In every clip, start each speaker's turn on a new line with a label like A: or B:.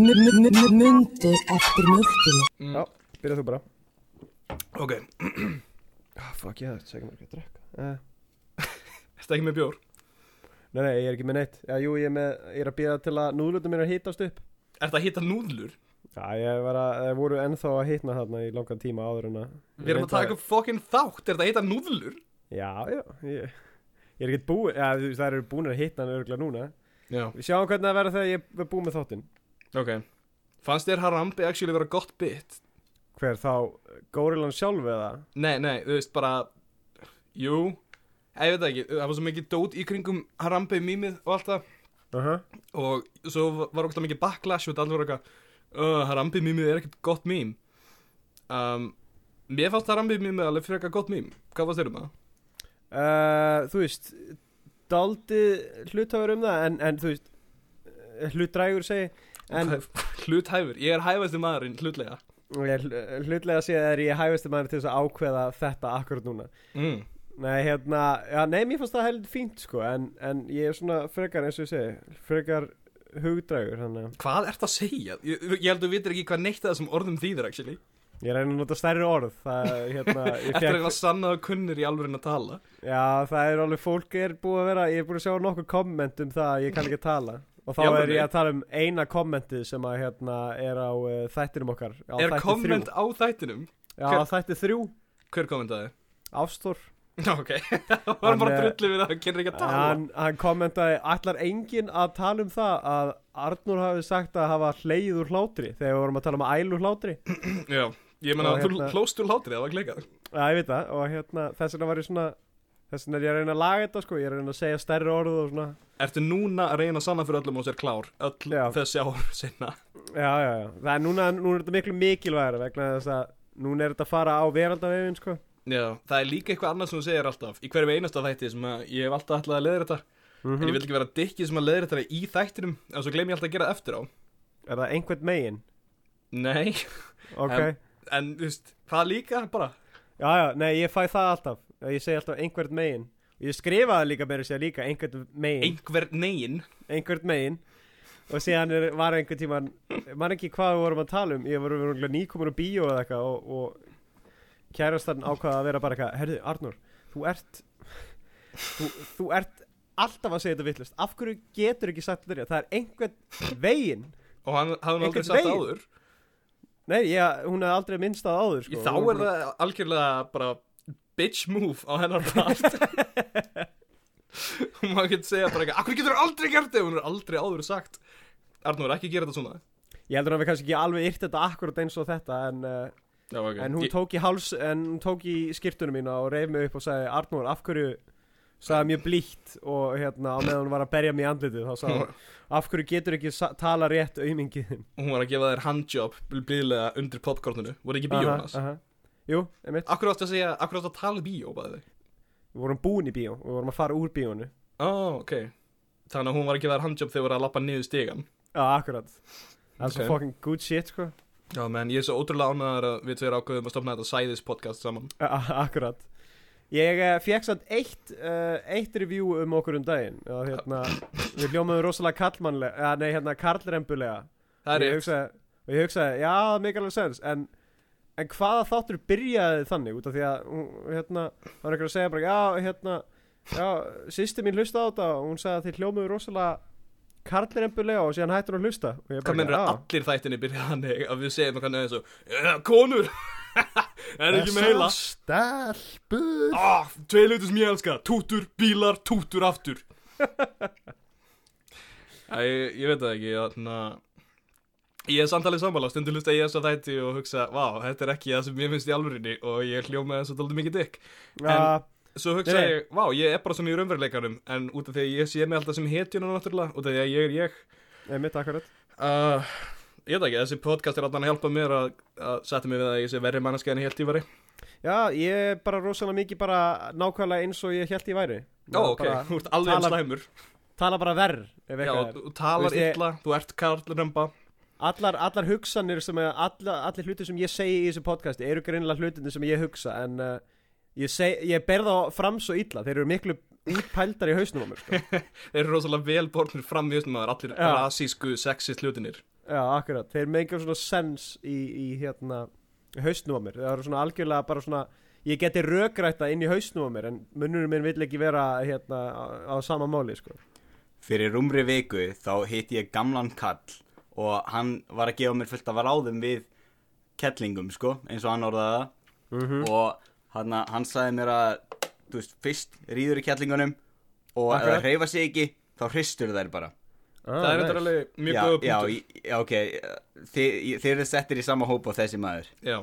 A: Mundu eftir mjölkinu
B: Já, byrja þú bara
C: Ok,
B: ah, Fuck ég, það segja mér ekki að drekka uh,
C: þetta ekki með bjór
B: Nei, nei, ég er ekki með neitt Já, jú, ég er, með, ég er að býða til að núðlutum mér að hýtast upp
C: Er þetta að hitta núðlur?
B: Já, ég var að, það voru ennþá að hýtna þarna í langan tíma áður en að
C: Við erum að taka upp fokkin þátt, er þetta að hitta núðlur?
B: Já, já, ég, ég er ekki búið Já, þú veist, það eru búin að hýtna hann örgulega núna
C: Já,
B: Við sjáum hvernig það verður þegar ég er búið með þáttinn
C: ok Fannst þér Harambe actually vera gott bit?
B: Hver þá, górilan sjálf eða?
C: Nei, nei, þú veist bara Jú, Æ, ég veit það ekki Það var svo mikið dót í kringum Harambe mýmið og allt það
B: Uh
C: og svo var okkur mikið backlash og þetta allir voru eitthvað uh, Harambi mýmið er ekkert gott mým um, Mér fannst Harambi mýmið alveg frekar gott mým Hvað fannst þér um það?
B: Uh, þú veist daldið hlutafur um það en, en þú veist eh, hlutdrægur segi en
C: En... Hluthæfur, ég er hæfasti maðurinn hlutlega
B: ég, hl- hlutlega sé að ég hæfist maður til þess að ákveða þetta akkurat núna
C: mm.
B: nei hérna, já nei mér fannst það heldur fínt sko en, en ég er svona frekar eins og ég segi frekar hugdrægur þannig að
C: Hvað ert að segja? Ég, ég held að þú vitir ekki hvað neitt af þessum orðum þýðir actually
B: ég reyna að nota stærri orð það, er, hérna, ég
C: Eftir
B: fekk,
C: eitthvað sannað og kunnir í alvörin að tala
B: já það er alveg fólk er búið að vera, ég er búið að sjá nokkuð komment um það að ég kann ekki að tala og þá
C: Já,
B: er
C: nei.
B: ég að tala um eina kommentið sem að hérna er á uh, þættinum okkar á
C: Er
B: þætti
C: komment á þættinum?
B: Já,
C: Hver-
B: þætti þrjú,
C: Hver kommentaði?
B: Ástór
C: Já, ok, það var bara
B: Hann, eh,
C: drullið við að hann kynir ekki að tala
B: hann, hann kommentaði, ætlar enginn að tala um það að Arnur hafi sagt að hafa hleið úr hlátri þegar við vorum að tala um ælu hlátri
C: Já, ég menna
B: Og
C: að þú
B: hérna-
C: hlóst úr látrið, það var klikað
B: Já, ég veit það og hérna, þess vegna var ég svona þess vegna er ég að reyna að laga þetta sko ég er að reyna að segja stærri orð og svona
C: Ertu núna að reyna að sanna fyrir öllum og sér klár öll
B: Já.
C: þessi ár sinna
B: Já, já, já, það er núna, núna er þetta miklu mikilvægara vegna þess að núna er þetta að fara á veraldavefin sko
C: Já, það er líka eitthvað annað sem þú segir alltaf í hverjum einasta þætti sem að ég hef alltaf ætlað að leiðra þetta en
B: Mhm.
C: ég vil ekki vera dikkið sem að leiðra þetta í þættinum en svo gleym ég alltaf að gera það eftir á
B: Er það einhvern megin?
C: Nei,
B: Ok,
C: Em. en þú veist, það líka bara
B: já, já, nei, ég fæ það alltaf ég segi alltaf einhvern megin ég skrifaði líka meira sér líka einhvern megin
C: einhver negin
B: einhvern megin og síðan er, var einhvern tíman mann ekki hvað við vorum að tala um ég voru verið nýkomur á bíó eða eitthvað og, og kærastan ákvaða að vera bara eitthvað herðu Arnur, þú ert þú, þú ert alltaf að segja þetta vittlust af hverju getur ekki sagt þetta rétt? það er einhvern veginn
C: og hann hafði hann
B: Einhvern
C: aldrei sagt
B: veginn.
C: áður
B: nei, ég, hún hefði aldrei minnst það áður sko.
C: í þá er það algjörlega bara bitch move á hennar part og maður getur segja bara eitthvað, akkur getur þú aldrei gert þetta hún er aldrei áður sagt Arnur, ekki gera þetta svona
B: ég heldur að við kannski ekki alveg yrt þetta akkurat eins og þetta en, uh,
C: Já, okay.
B: en hún
C: Ég-
B: tók í háls en hún tók í skýrtunum mína og reyf mig upp og sagði Arnur, af hverju sagði mjög blítt og hérna á meðan hún var að berja mig í andlitið þá sagði hún, af hverju getur ekki sa- tala rétt auðmingiðin
C: hún var að gefa þér handjob blíðlega undir popcorninu voru ekki í bíó hans
B: Jú, einmitt,
C: akkur átti að segja, akkur átti að tala í bíó bæði þig
B: við vorum búin í bíó og við vorum að fara úr bíónu
C: ó, ok þannig að hún var að gefa þér handjob þegar þú voru að lappa niður stegan
B: Já, akkurat Það er svo
C: Ok.
B: fucking good shit, sko
C: já, menn, ég er svo ótrúlega ánæðar að við tveir ákveðum að stopna þetta Sæðis podcast saman
B: A- a- Akkurat Ég uh, fekk samt eitt, uh, eitt review um okkur um daginn og hérna, við hljómaðum rosalega kallmannlega, eða nei, hérna, karlrembulega
C: það
B: Og
C: er
B: ég
C: rétt,
B: hugsaði, og ég hugsaði, já, það er mikilvæg sens en, en hvaða þáttur byrjaði þannig út af því að hún- hérna, það var einhver að segja bara, já, hérna já, sýsti mín hlusta á þetta og hún sagði að þið hljómuðu rosalega karlirembulega og síðan hættur hún að hlusta og ég
C: hvað mennur að
B: já,
C: allir þættinni byrja þannig að við segjum eitthvað neðið svo "Ja, konur, er ekki með heila
D: Stelpur
C: ah, tvei hluti sem ég elska, tútur, bílar tútur aftur Æ, ég, ég veit það ekki þarna Ég er samtalið sammála, stundum hlusta ég þess að þætti og hugsa, vá, þetta er ekki það sem ég finnst í alvörinni og ég hljóma þess að dálítið mikið dykk.
B: já,
C: Svo hugsa
B: Nei, nei.
C: ég, vá, ég er bara svona í raunveruleikanum, en út af því að ég sé mig alltaf sem hetjuna náttúrulega, út af því að ég er ég,
B: einmitt akkurat
C: uh, ég veit ekki, þessi podcast er alltaf að hjálpa mér að, að setja mig við að ég sé verri manneskja en ég held ég væri
B: Já, ég er bara rosalega mikið bara nákvæmlega eins og ég held ég væri
C: Já, ok,
B: bara,
C: þú ert alveg
B: tala-
C: tala, slæmur
B: Tala bara verð ef
C: Já,
B: eitthvað er.
C: þú þú talar
B: Þú veist, ég-
C: illa, þú ert karlremba
B: Allar, allar hugsanir sem að, allar, allir hlutir sem ég segi í þessu podcasti eru greinilega hlutinni sem ég hugsa en uh, ég, seg, ég ber þá fram svo illa þeir eru miklu útpældar í hausnum á mér sko.
C: Þeir eru rosalega vel borðnir fram í þessum maður Allir
B: Já.
C: rasísku, sexist hlutinir
B: Já, akkurat, þeir meikjum svona sens í, í hérna hausnum á mér, það eru svona algjörlega bara svona ég geti rökrætta inn í hausnum á mér en munnurinn minn vill ekki vera hérna á, á sama máli sko.
E: Fyrir rúmri viku þá hitt ég gamlan kall og hann var að gefa mér fullt af ráðum við kettlingum, sko, eins og hann orðaði það og hann, hann sagði mér að, þú veist, fyrst rýður í kettlingunum og ef
B: Akkurat.
E: það reyfa sig ekki, þá hristur þær bara.
B: ah,
C: Það er
B: nice.
C: þetta alveg mjög
E: já,
C: góða
E: já,
C: punktur
E: í- já, ok, þið, ég- þið eru settir í sama hóp og þessi maður.
C: Já,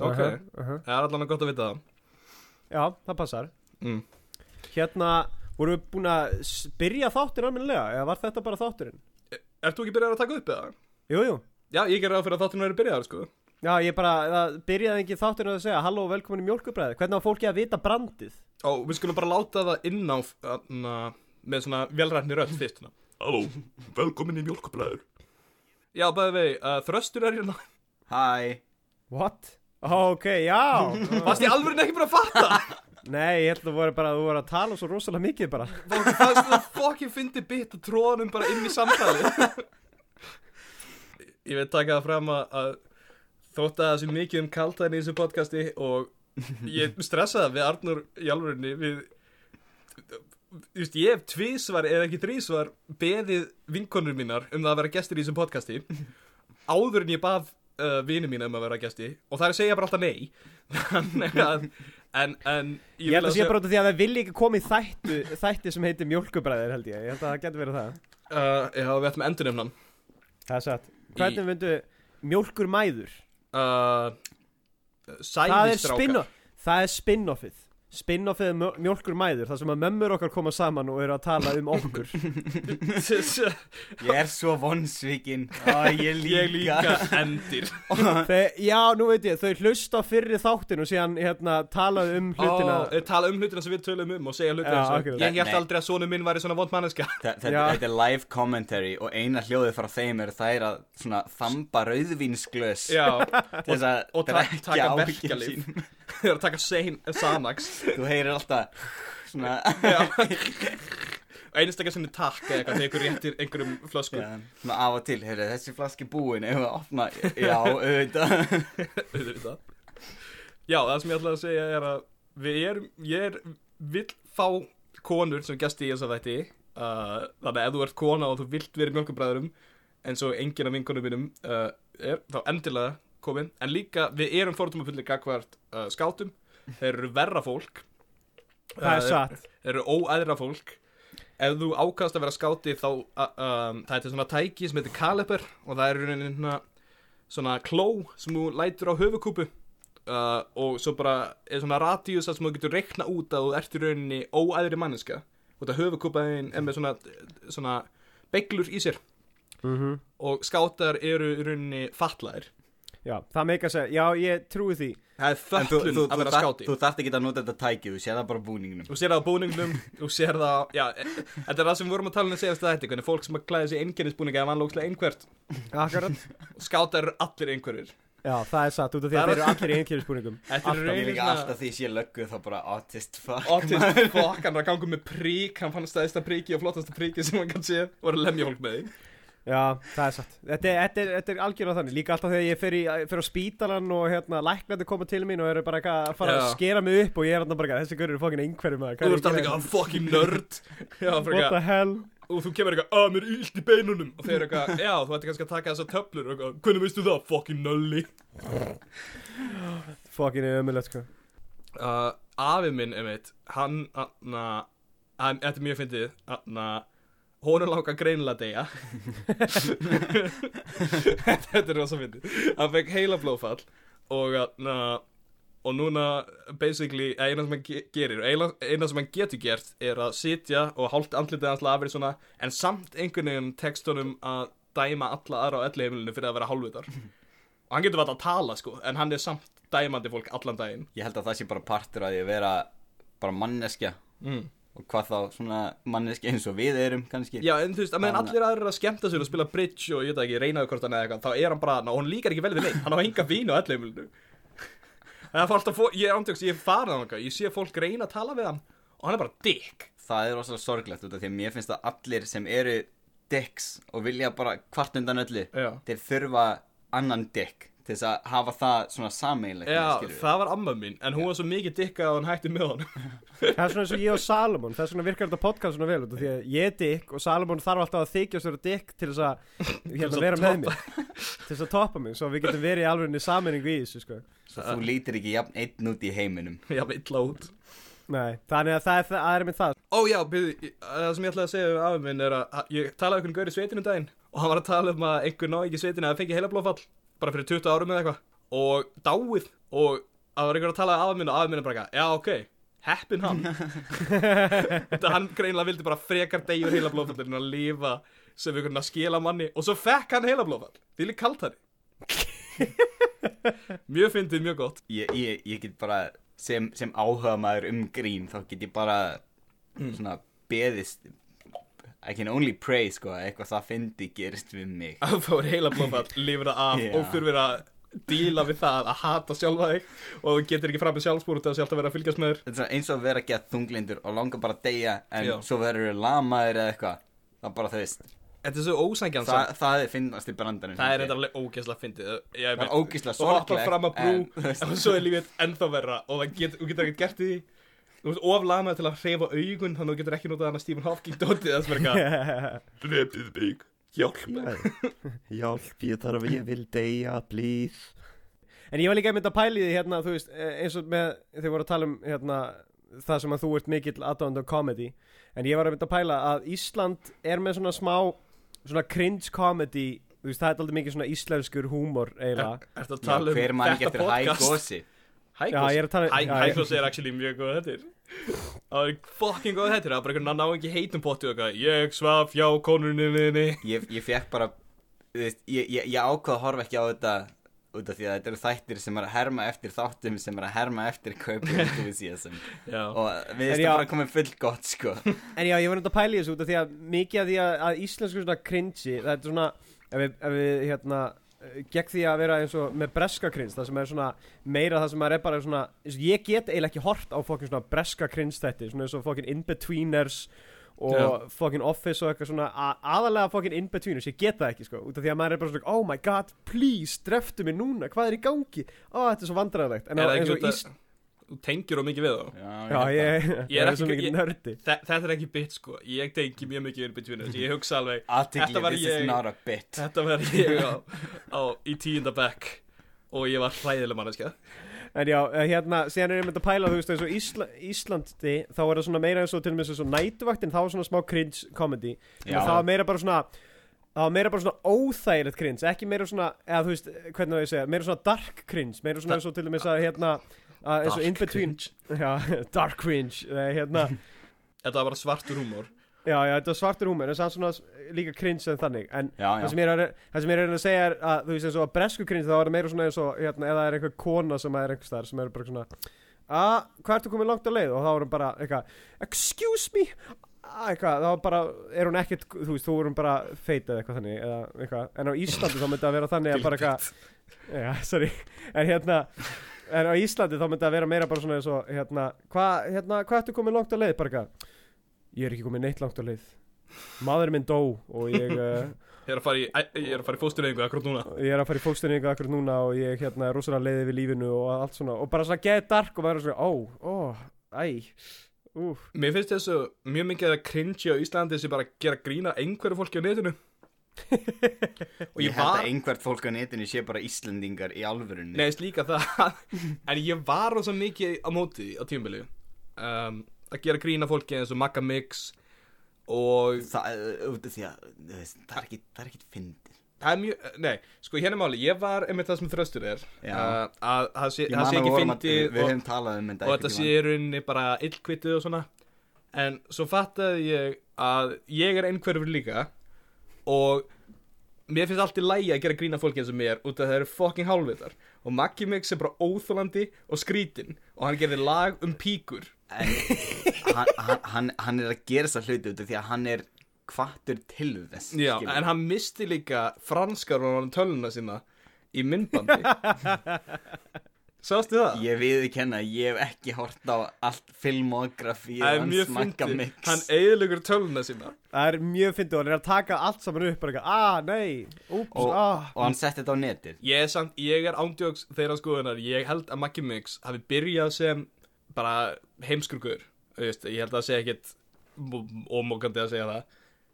C: ok
B: Aha, aha.
C: Það er allavega gott að vita það
B: Já, það passar
C: mm.
B: Hérna, vorum við búin að s- byrja þáttir almennilega, eða var þetta bara þátturinn?
C: Ert þú ekki byrjar að taka upp eða?
B: Jú, jú
C: Já, ég gerði ráð fyrir að þáttinu verið byrjaðar sko
B: Já, ég bara, það byrjaði engin þátturinn að segja Halló, velkomin í mjólkubræði, hvernig á fólki að vita brandið?
C: Ó, við skulum bara láta það inn á na, með svona velrætni rödd fyrst hérna. na. Halló, velkomin í mjölkublaður Já, bæði vei, uh, þröstur er hérna
E: Hæ,
B: What? Ok, já
C: Varst ég alveg ekki bara að fatta?
B: Nei, ég held að þú voru bara, þú voru að tala svo rosalega mikið bara
C: Fólk- Það er svona fokkin fyndi bit og tróðanum bara inn í samtali Ég veit taka það fram að, að þótt að það sé mikið um kaltæðin í þessu podcasti og ég stressa það við Arnur í alvörinni við Just, ég hef tvísvar eða ekki þrísvar beðið vinkonur mínar um það að vera gestir í þessu podcasti áður en ég bað uh, vini mína um að vera gesti og það er að segja bara alltaf nei Þannig að- en, en
B: Ég, held
C: vil
B: að sé bara út af því að það vilja ekki koma í þættu, þætti sem heitir mjólkubræðir held ég Ég held að það getur verið það
C: Uh, já, við ætlum að endurnefna hann
B: Það er satt Hvernig myndu mjólkurmæður?
C: uh,
B: Það er
C: Sæðistrákar
B: spin-off Það er spin-offið Spin-offið er mjö- mjólkurmæður þar sem að mömmur okkar koma saman og eru að tala um okkur
E: ég er svo vonsvikinn, Æ, ég líka.
C: Ég líka endir
B: Þe, já, nú veit ég, þau hlusta á fyrri þáttin og síðan hérna, talaðu um hlutina
C: Ó, eh, Tala um hlutina sem við tölum um og segja hlutina
B: Já,
C: sem
B: akkurat.
C: Ég
E: Nei.
C: held aldrei að sonu minn væri svona vond manneska
E: Þa- Þetta
B: Já.
E: þetta er live commentary og eina hljóðið frá þeim er það er að svona þamba rauðvínsglös til
C: Já,
E: þess að
C: og ta
E: drekja
C: taka
E: áhyggjum
C: verkalið
E: sín.
C: Þau eru að taka sein, Sanax
E: Þú heyrir alltaf svona
C: Einstakar sinni takk eða eitthvað þegar ykkur réttir einhverjum flöskum
E: Já, svona af og til, heyrðu þessi flaski búin ef við að opna, já, auðvitað
C: auðvitað Já, það sem ég ætlaði að segja er að við erum, ég er, vill fá konur sem gæsti í þess að þætti uh, þannig að ef þú ert kona og þú vilt verið mjölkubræðurum eins og enginn af vinkonum mínum uh, er þá endilega komin en líka við erum fórtum að fulla gagvart uh, skátum, þeir eru verra fólk
B: Það
C: Uh,
B: er satt
C: þeir eru óæðra fólk ef þú ákast að vera skáti þá uh, um, það er til svona tæki sem heitir kaliber og það er í rauninni svona, svona kló sem þú lætur á höfukúpu uh, og svo bara er svona radíus þar sem þú getur reikna út að þú ert í rauninni óæðri manneska og það höfukúpaðin er með svona, svona beglur í sér
B: Mhm.
C: og skátar eru í rauninni fatlaðir
B: Já, það meika að segja, já, ég trúi því
C: það er
E: En þú, þú,
C: föllun
E: þú,
C: að vera
E: þarft-
C: skáti
E: þú þarft ekki að nota þetta tækið, þú séð það bara á búningnum
C: Þú sér það á búningnum, þú sér það á, já, e- þetta er það sem við vorum að tala um að segja þetta þetta, hvernig fólk sem að klæða sig einkennisbúninga er vanlókslega einhvert,
B: Akkurat
C: skátar eru allir einhverjir.
B: Já, það er satt út af því að
C: Það er-
B: þeir eru allir í einhverjum
C: Þetta er
E: Ég er
C: rauninni
E: líka alltaf
C: svona,
E: því sé löggu þá bara autist fuck
C: autist fokk, hann er að ganga með prík, hann fann stæðista príki og flottasta príki sem hann kann sé, og er að lemja fólk með því.
B: Já, það er satt Þetta er, þetta er, þetta er algjörlega þannig Líka alltaf þegar ég fer, í, fer á spítalan og hérna, læknandi koma til mín og eru bara eitthvað að fara að
C: Já.
B: skera mig upp og ég er hérna bara eitthvað, þessi görur er fokkin einhverjum maður, hvað
C: Þú ert
B: er ég
C: alltaf
B: gera
C: eitthvað fucking nörd, já, fyrir
B: What
C: eitthvað,
B: the hell
C: og þú kemur eitthvað, að mér er illt í beinunum, og þeir eru eitthvað, já, þú ætti kannski að taka þessa töflur, og eitthvað, hvernig veistu það, fucking nölli.
B: Fokkin er ömulegt sko
C: uh, afi minn einmitt, hann aðna, hann, þetta er mjög fyndið aðna, honum langar greinilega að deyja þetta er rosa fyndið hann fekk heila blófall og aðna, og núna basically, eh, eina sem hann ge- gerir eina, eina sem hann getur gert er að sitja og hálft andlitið hans lafir svona en samt einhvern veginn tekstunum að dæma alla aðra á elli heimilinu fyrir að vera hálfvitar og hann getur vart að tala sko en hann er samt dæmandi fólk allan daginn
E: Ég held að það sé bara partur að ég vera bara manneskja
C: mm.
E: og hvað þá svona manneskja eins og við erum kannski
C: já en þú veist, að meðan allir aðrir eru að skemmta sér og spila bridge og ég veit ekki, reynaðu hvort hann eða eitthvað þá er hann bara, ná, hann líkar ekki vel við neitt hann á enga vín á elli heimilinu það er alltaf, fó- ég er ándjóks, ég er farin þangað, ég sé fólk reyna að tala við hann og hann er bara dick
E: Það er rosalega sorglegt út af því að mér finnst að allir sem eru dicks og vilja bara kvart undan öllu
C: Já.
E: þeir þurfa annan dick til þess að hafa það svona sameiginlegt
C: Já,
E: skilurðu.
C: það var amma mín, en hún var svo mikið dikka að hann hætti með honum.
B: Það er svona eins og ég og Salomon, það er svona virkar þetta podcast svona vel út af því að ég er dikk og Salomon þarf alltaf að þykja sér að dikk til þess að
C: þess
B: hérna,
C: að
B: vera með mig, til þess að toppa mig, svo við getum verið í alveg sammenningu í þessu sko.
E: Svo þú lítir ekki jafn einn út í heiminum
C: Já, illa út.
B: Nei, þannig að það er, það er með það.
C: Ó já, byrði, það sem ég ætlaði að segja um afa minn er að ég talaði einhvern gaur í sveitinu um daginn og hann var að tala um að einhver ná ekki í sveitinu að fengi heilablóðfall, bara fyrir 20 árum eða eitthvað og dáið og það var einhver að tala um afa minn og afa minn er bara eitthvað, já ok, heppin hann. Þetta hann greinlega vildi bara frekar degjur heilablóðfall en að lifa sem einhvern að skila manni og svo fekk hann heilablóðfall, því lík kalt hann. mjög fyndið, mjög gott.
E: ég, ég, ég get bara sem, sem áhuga maður um grín þá get ég bara
C: Mm.
E: svona beðist I can only pray sko að eitthvað það fyndi gerist við mig
C: að þú fáir heila blóðfall, lifir það af
E: Já.
C: og þurfir að díla við það að hata sjálfa þig og þú getur ekki fram með sjálfsbúr út af sjálf að vera að fylgjast með þér
E: Þetta er svona eins og að vera að geta þunglindur og langa bara að deyja en
C: Já.
E: svo verður við lamaður eða eitthvað það er bara þú veist
C: Þetta er svo ósængjan
E: það, það er fyndast í brandarinn
C: Það er þetta alveg ógeðslega fyndið Það
E: Það er ógeðslega
C: Þú hoppar
E: sorglegt,
C: fram að brú
E: en, þú veist.
C: og svo er lífið ennþá verra og það get, þú getur ekki gert í því Þú veist oflamað til að hreyfa augun þannig að þú getur ekki notað hana Stephen Hawking dótið það sem er eitthvað Drepið mig, hjálp mér
D: Hjálp, ég þarf að ég vil deyja, please
B: En ég var líka einmitt að pæli því hérna, þú veist, eh, eins og með þau voru að tala um hérna, það sem að þú ert mikill aðdáðan á comedy, en ég var einmitt að pæla að Ísland er með svona smá svona cringe comedy, þú veist, það er aldrei mikið svona íslenskur húmor eiginlega.
C: Ertu að
E: Já,
C: tala um
E: hver mann ekki
C: þetta
E: eftir hæ
C: podcast?
E: gósi
B: Já, ég er að tala- já, ég-
C: Hæklos er actually mjög góð hættir Það er fucking góð hættir Það er bara einhvern veginn að ná ekki heitum potti og eitthvað Ég svaf hjá konunni minni
E: ég, ég fekk bara þú veist, ég, ég, ég ákvað að horfa ekki á þetta út af því að þetta eru þættir sem er að herma eftir þáttum sem er að herma eftir kaupin enthusiasm
C: Já
E: og við
B: En
E: veist
B: já.
E: að bara komið full gott sko
B: En já, ég var einmitt að pæli þessu út af því að mikið af því að, að íslenskur svona cringe, það er svona, ef við, ef við hérna, eh, gegn því að vera eins og með breska cringe, það sem er svona meira það sem maður er bara svona, eins og ég get eiginlega ekki hort á fokkin svona breska cringe þetta, svona eins og fokkin in-betweeners og
C: Já.
B: fokkin office og eitthvað svona, a- aðalega fokkin in-betweeners, ég get það ekki sko, út af því að maður er bara svona, oh my god, please, dreftu mig núna, hvað er í gangi, ó, þetta er svo vandræðilegt, en
C: Er
B: á-
C: það
B: eins
C: ekki
B: og
C: út
B: Ís...
C: að Þú tengir og mikið við þá
B: Já, ég,
C: Ég er
B: ég er svo
C: ekki-
B: mikið
C: ég-
B: nördi.
C: Þe- Þetta er ekki bit sko Ég tengi mjög mikið við between us Ég hugsa alveg Þetta
E: aðtikli,
C: var
E: this
C: ég.
E: is not a bit
C: Þetta var ég á, á Í tíunda bekk Og ég var hræðileg manneskja
B: En já, eh, hérna, síðan er ég myndi að pæla, þú veist, eins og Ísla, Íslandi, þá er það svona meira eins og til og með þessu nætuvaktin, þá er svona smá cringe comedy.
E: Já.
B: Já. Það var meira bara svona, það var meira bara svona óþægilegt cringe, ekki meira svona, eða þú veist, eh, hvernig á ég að segja, meira svona dark cringe, meira svona eins og til og með þess að, hérna, að eins og
C: Dark
B: in between, já, dark cringe, eh, hérna,
C: Þetta var bara svartur húmór
B: já, já, þetta var svartur húmur, en samt svona líka cringe en þannig, en
E: já, já.
B: Það sem ég er að, það sem ég er að reyna að segja er að þú veist eins og að bresku cringe þá er það meira svona eins og hérna, eða það er einhver kona sem er einhvers þar sem er bara svona að hvað ertu komið langt á leið og þá er hún bara eitthvað excuse me Ah, eitthvað, þá bara er hún ekkert þú veist, þú er hún bara feit eða eitthvað þannig eða eitthvað, en á Íslandi þá myndi það vera þannig að bara eitthvað, já, sorry en hérna, en á Íslandi þá myndi það vera meira bara svona eins og hérna, hvað, hérna, hvað ertu komið langt á leið bara eitthvað, ég er ekki komið neitt langt á leið maður minn dó og ég uh,
C: Ég er að fara í, ég er að fara í fóstureyðingu akkur núna
B: ég er að fara í fólkstunningu akkur núna og ég hérna, er rosalega leiði við lífinu og allt svona og bara svona get dark og maður er svona ó, ó, æ, úf
C: Mér finnst þessu mjög mikið að cringe á Íslandi sem bara gera grína einhverju fólki á netinu og
E: ég
C: ég
E: held
C: var
E: að einhvert fólk á netinu sé bara Íslendingar í alvörunni
C: neðist líka það en ég var rosa mikið á móti því á tímabili um, að gera grína fólki eins og Magga Mix og
E: það, uh, út af því að þú veist, það er ekki, það er ekki fyndið
C: það er mjög, nei, sko hérna er máli ég var einmitt það sem þröstur er
E: Já.
C: uh, að það sé,
E: Ég
C: það
E: man
C: sé
E: að
C: ekki
E: vorum að-
C: fyndið
E: við
C: og-
E: hefum talað um þetta
C: og þetta
E: einhvern
C: sé
E: tímann.
C: í rauninni bara illkvitið og svona en svo fattaði ég að ég er einhverfur líka og mér finnst allt í lægi að gera grína fólki eins og mér út af það eru fucking hálfvitar og Maggi Mix er bara óþólandi og skrítin og hann gerði lag um píkur
E: en hann, hann, hann, hann er að gera þessa hluti út af því að hann er kvartur til þess
C: Já,
E: skilur.
C: en hann misti líka franskar og hann töluna sína í myndbandi Sástu það?
E: ég við kenna, ég hef ekki hort á allt filmografi
C: Það er
E: hans
C: mjög
E: makka
C: fyndið.
E: mix
C: Hann eiðilegur töluna sína
B: Það er mjög fyndið og hann er að taka allt saman upp bara eitthvað, ah, nei, úps,
E: og,
B: ah
E: og hann setti þetta á netir
C: Ég er samt, ég er ándjóks þeirra skoðunar Ég held að Maggi Mix hafi byrjað sem bara heimskrugur veist, Ég held að það sé ekkit ómókandi að segja það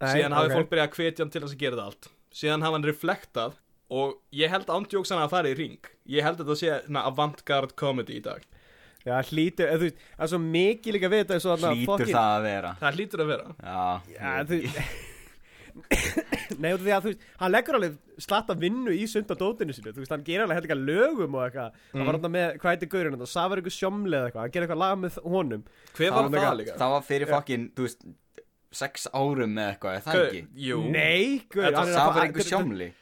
B: Nei,
C: Síðan hafi
B: ok.
C: fólk byrjað að hvetja hann til þess að gera það allt Síðan hafi hann reflektað Og ég held ándjóks hann að fara í ring Ég held að það sé svona avantgard comedy í dag
B: Já, hlýtur, eða þú veist, það er svo mikið líka við þetta eins og þarna
E: hlýtur
B: fucking-
E: það að vera
C: Það hlýtur að vera
E: já,
B: Já, þú Nei, út af því að þú veist, hann leggur alveg slatta vinnu í sundadótinu sínu, þú veist, hann gerir alveg hérna eitthvað lögum og eitthvað, hann
E: Mm.
B: var hann með, hvað heitir gaurinn, hann safar eitthvað sjómli eða eitthvað, hann gerir eitthvað lag með honum.
C: Hver
E: það,
C: var
E: það,
C: það líka?
E: það var fyrir fokkin, þú veist sex árum eða eitthvað, er það
C: Hver-
E: ekki
C: Jú
B: Nei, gaur,
C: Þetta
B: hann er
E: það var
B: að-
E: einhver sjómli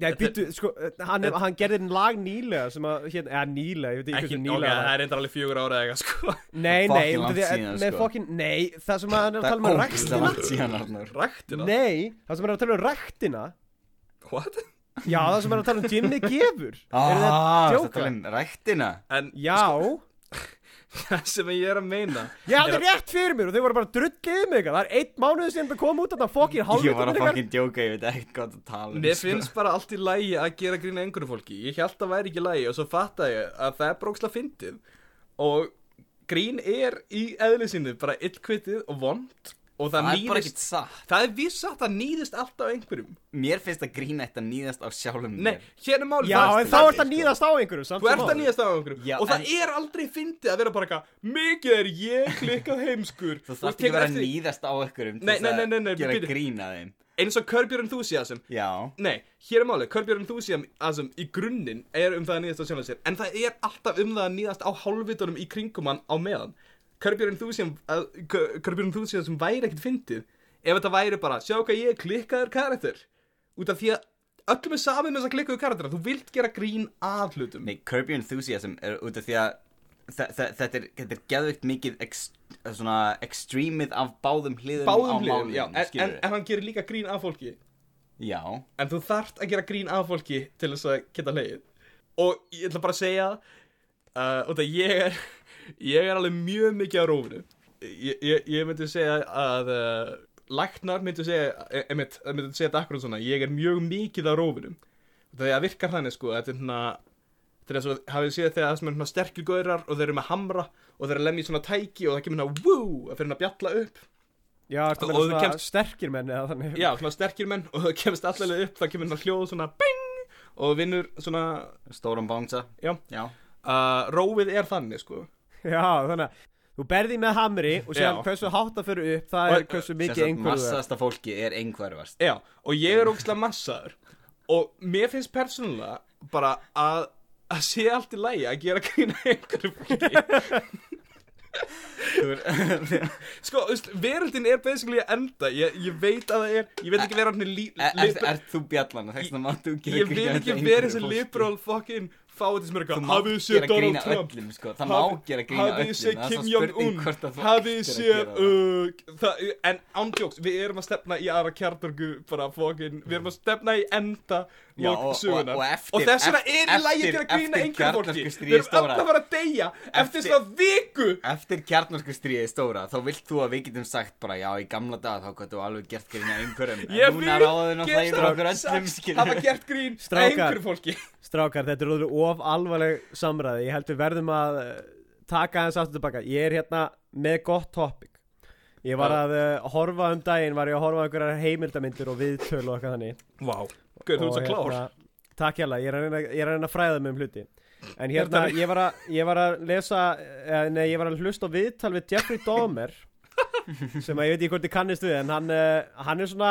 B: Já, býttu, sko, hann, er, hann gerði einn lag nýlega sem að, hérna, eða nýlega, ég veit ekki
C: Ekki,
B: hversu
C: ok,
B: nýlega
C: það
B: var.
C: er reyndar alveg fjögur ára eða eitthvað sko
B: Nei, nei,
E: fucking
B: út af
E: langt
B: því að,
E: síðan,
B: með
E: sko.
B: fokkin, nei, það sem að hann er að
E: það
B: tala um
E: er
B: er
E: ógislega
B: ræktina.
E: langt síðan Arnur
C: Ræktina?
B: Nei, það sem hann er að tala um ræktina,
C: What?
B: já, það sem hann er að tala um Jimmy gefur. Eru þið að
E: Ah, þetta
B: djóka?
E: tala um ræktina
C: En
B: Já,
C: það sem ég er að meina
B: ég hafði rétt fyrir mér og þau voru bara drullið um eitthvað, það er eitt mánuð sem það kom út að það fokkin
E: Ég var
B: hálfvitað
E: að fucking djóka, ég veit ekkert hvað það tala um
C: Mér
E: sko.
C: finnst bara allt í lægi að gera grína einhverju fólki Ég held að væri ekki lægi og svo fatta ég að það er bróksla fyndið Og grín er í eðli sínu bara illkvitið og vond Og það,
E: Það er bara
C: nýðist
E: ekkert satt
C: Það er viss að það nýðist alltaf einhverjum
E: Mér finnst að grína þetta nýðast á sjálfum
C: Nei, hérna er málið
B: Já,
C: það er-
B: en þá ert að
E: sko.
B: nýðast á einhverju samt
C: Þú
B: sem
C: ert að
B: áður.
C: nýjast af einhverjum
E: Já,
C: og það
E: en-
C: er aldrei fyndið að vera bara eitthvað mikið er ég klikkað heimskur
E: Þú
C: Og
E: þarft ekki
C: tekur
E: að vera
C: eftir
E: að
C: því-
E: nýðast á einhverjum til
C: Nei,
E: þess
C: nei,
E: að
C: nei, nei, nei,
E: Gera
C: bíddu.
E: grína þeim
C: eins og Curb Your Enthusiasm
E: Já
C: Nei, hér er málið, Curb Your Enthusiasm í grunninn er um það að nýðast á sjálfan sér en það er alltaf um það að nýðast á hálfvitunum í kringum hann á meðan Curb Your Enthusiasm, uh, Curb Your Enthusiasm væri ekkert fyndið ef þetta væri bara, sjá hvað ég er klikkaður karakter út af því að öllum er saman með þess að klikkaður karakter þú vilt gera grín að hlutum
E: Nei, Curb Your Enthusiasm er út af því að þa- þa- Þetta er, þetta er geðvikt mikið ex, svona extremið af báðum hliðum á
C: báðum hliðum,
E: málinu,
C: já, en, en,
E: skilurðu?
C: en hann gerir líka grín að fólki
E: Já,
C: en þú þarft að gera grín að fólki til þess að geta leið og ég ætla bara að segja uh, og það ég er ég er alveg mjög mikið á rófinu ég, ég, ég myndi segja að uh, læknar myndi segja eh, einmitt, eh, myndi segja þetta akkur svona ég er mjög mikið á rófinu það er virkar þannig sko þetta er svona Þetta er eins og hafið séð þegar það sem er svona sterkir gaurar og þeir eru með hamra og þeir eru að lemja í svona tæki og það kemur hérna woo að fyrir hérna að bjalla upp
B: Já,
C: Og
B: ertu meira
C: þú
B: svona
C: kemst-
B: sterkir menn eða þannig
C: Já, svona sterkir menn og það kemst allavega upp, það kemur hérna hljóð svona bing og vinnur svona,
E: stórum bánsa
C: já,
E: Já,
C: uh, rófið er þannig sko.
B: Já, þannig að þú berði með hamri og séðan
C: Já.
B: hversu hátt það fyrir upp, það er
C: Og-
B: hversu
E: þess
B: mikið
E: að
B: einhverju það er.
E: massasta fólki er einhverfast
C: Já, og ég er ógislega massaður og mér finnst persónulega bara að, að sé allt í lægi að gera grína einhverju fólki. Sko, þú veist, veröldin er basically að enda, ég, ég veit að það er, ég vil ekki vera hann í lí...
E: Er, er,
C: lipur-
E: er E- þú bjallan? Þess að máttu gera
C: Ég vil
E: grína
C: ekki
E: þetta
C: vera
E: einhverju
C: þessi
E: fólki.
C: liberal fucking fáið þessum er
E: Þú
C: eitthvað,
E: mátt
C: hafið þið
E: gera
C: séð Donald
E: grína
C: Trump?
E: öllum sko. Það má gera grína
C: hafið þið séð Kim
E: öllum Það er svo spurning
C: Jong-un
E: hvort að þú
C: hafið þið séð
E: ættir að gera það.
C: uh, það- en ándjóks, við erum að stefna í aðra kjartorgu bara fókin, við erum að stefna í enda
E: Já, og-
C: lók
E: og-
C: sögunar
E: og eftir-
C: þess vegna
E: eft-
C: er í lagi að
E: eftir-
C: gera grína
E: eftir
C: einhverjum fólki
E: kjarnorku
C: við
E: stríði
C: erum öll
E: stóra.
C: að fara að deyja eftir
E: Eftir-
C: svona viku
E: Eftir kjarnorku stríði stóra þá vilt þú að við getum sagt bara já í gamla dag þá gætu alveg gert grína einhverjum
C: ég
E: en núna ráðu
C: vil
E: nú það yfir okkur öllum
C: sagt hafa
E: skilur
C: gert grín
B: Strákar.
C: einhverjum fólki
B: Strákar, þetta er orðið of alvarleg samræði, ég held við verðum að eh, taka þess aftur tilbaka. Ég er hérna með gott topic. Ég var
C: Já.
B: að uh, horfa um daginn, var ég að horfa á einhverjar heimildamindir og viðtöl og eitthvað þannig.
C: wow, gauð, þú ert
B: Og
C: svo klár
B: hérna, Takk hérlega, ég er að reyna, ég er að, reyna að fræða mig um hluti En hérna, ég var að, ég var að lesa eh, Nei, ég var að hlusta á viðtal við Jeffrey Dahmer Sem að ég veit ekki hvort þið kannist við En hann, eh, hann er svona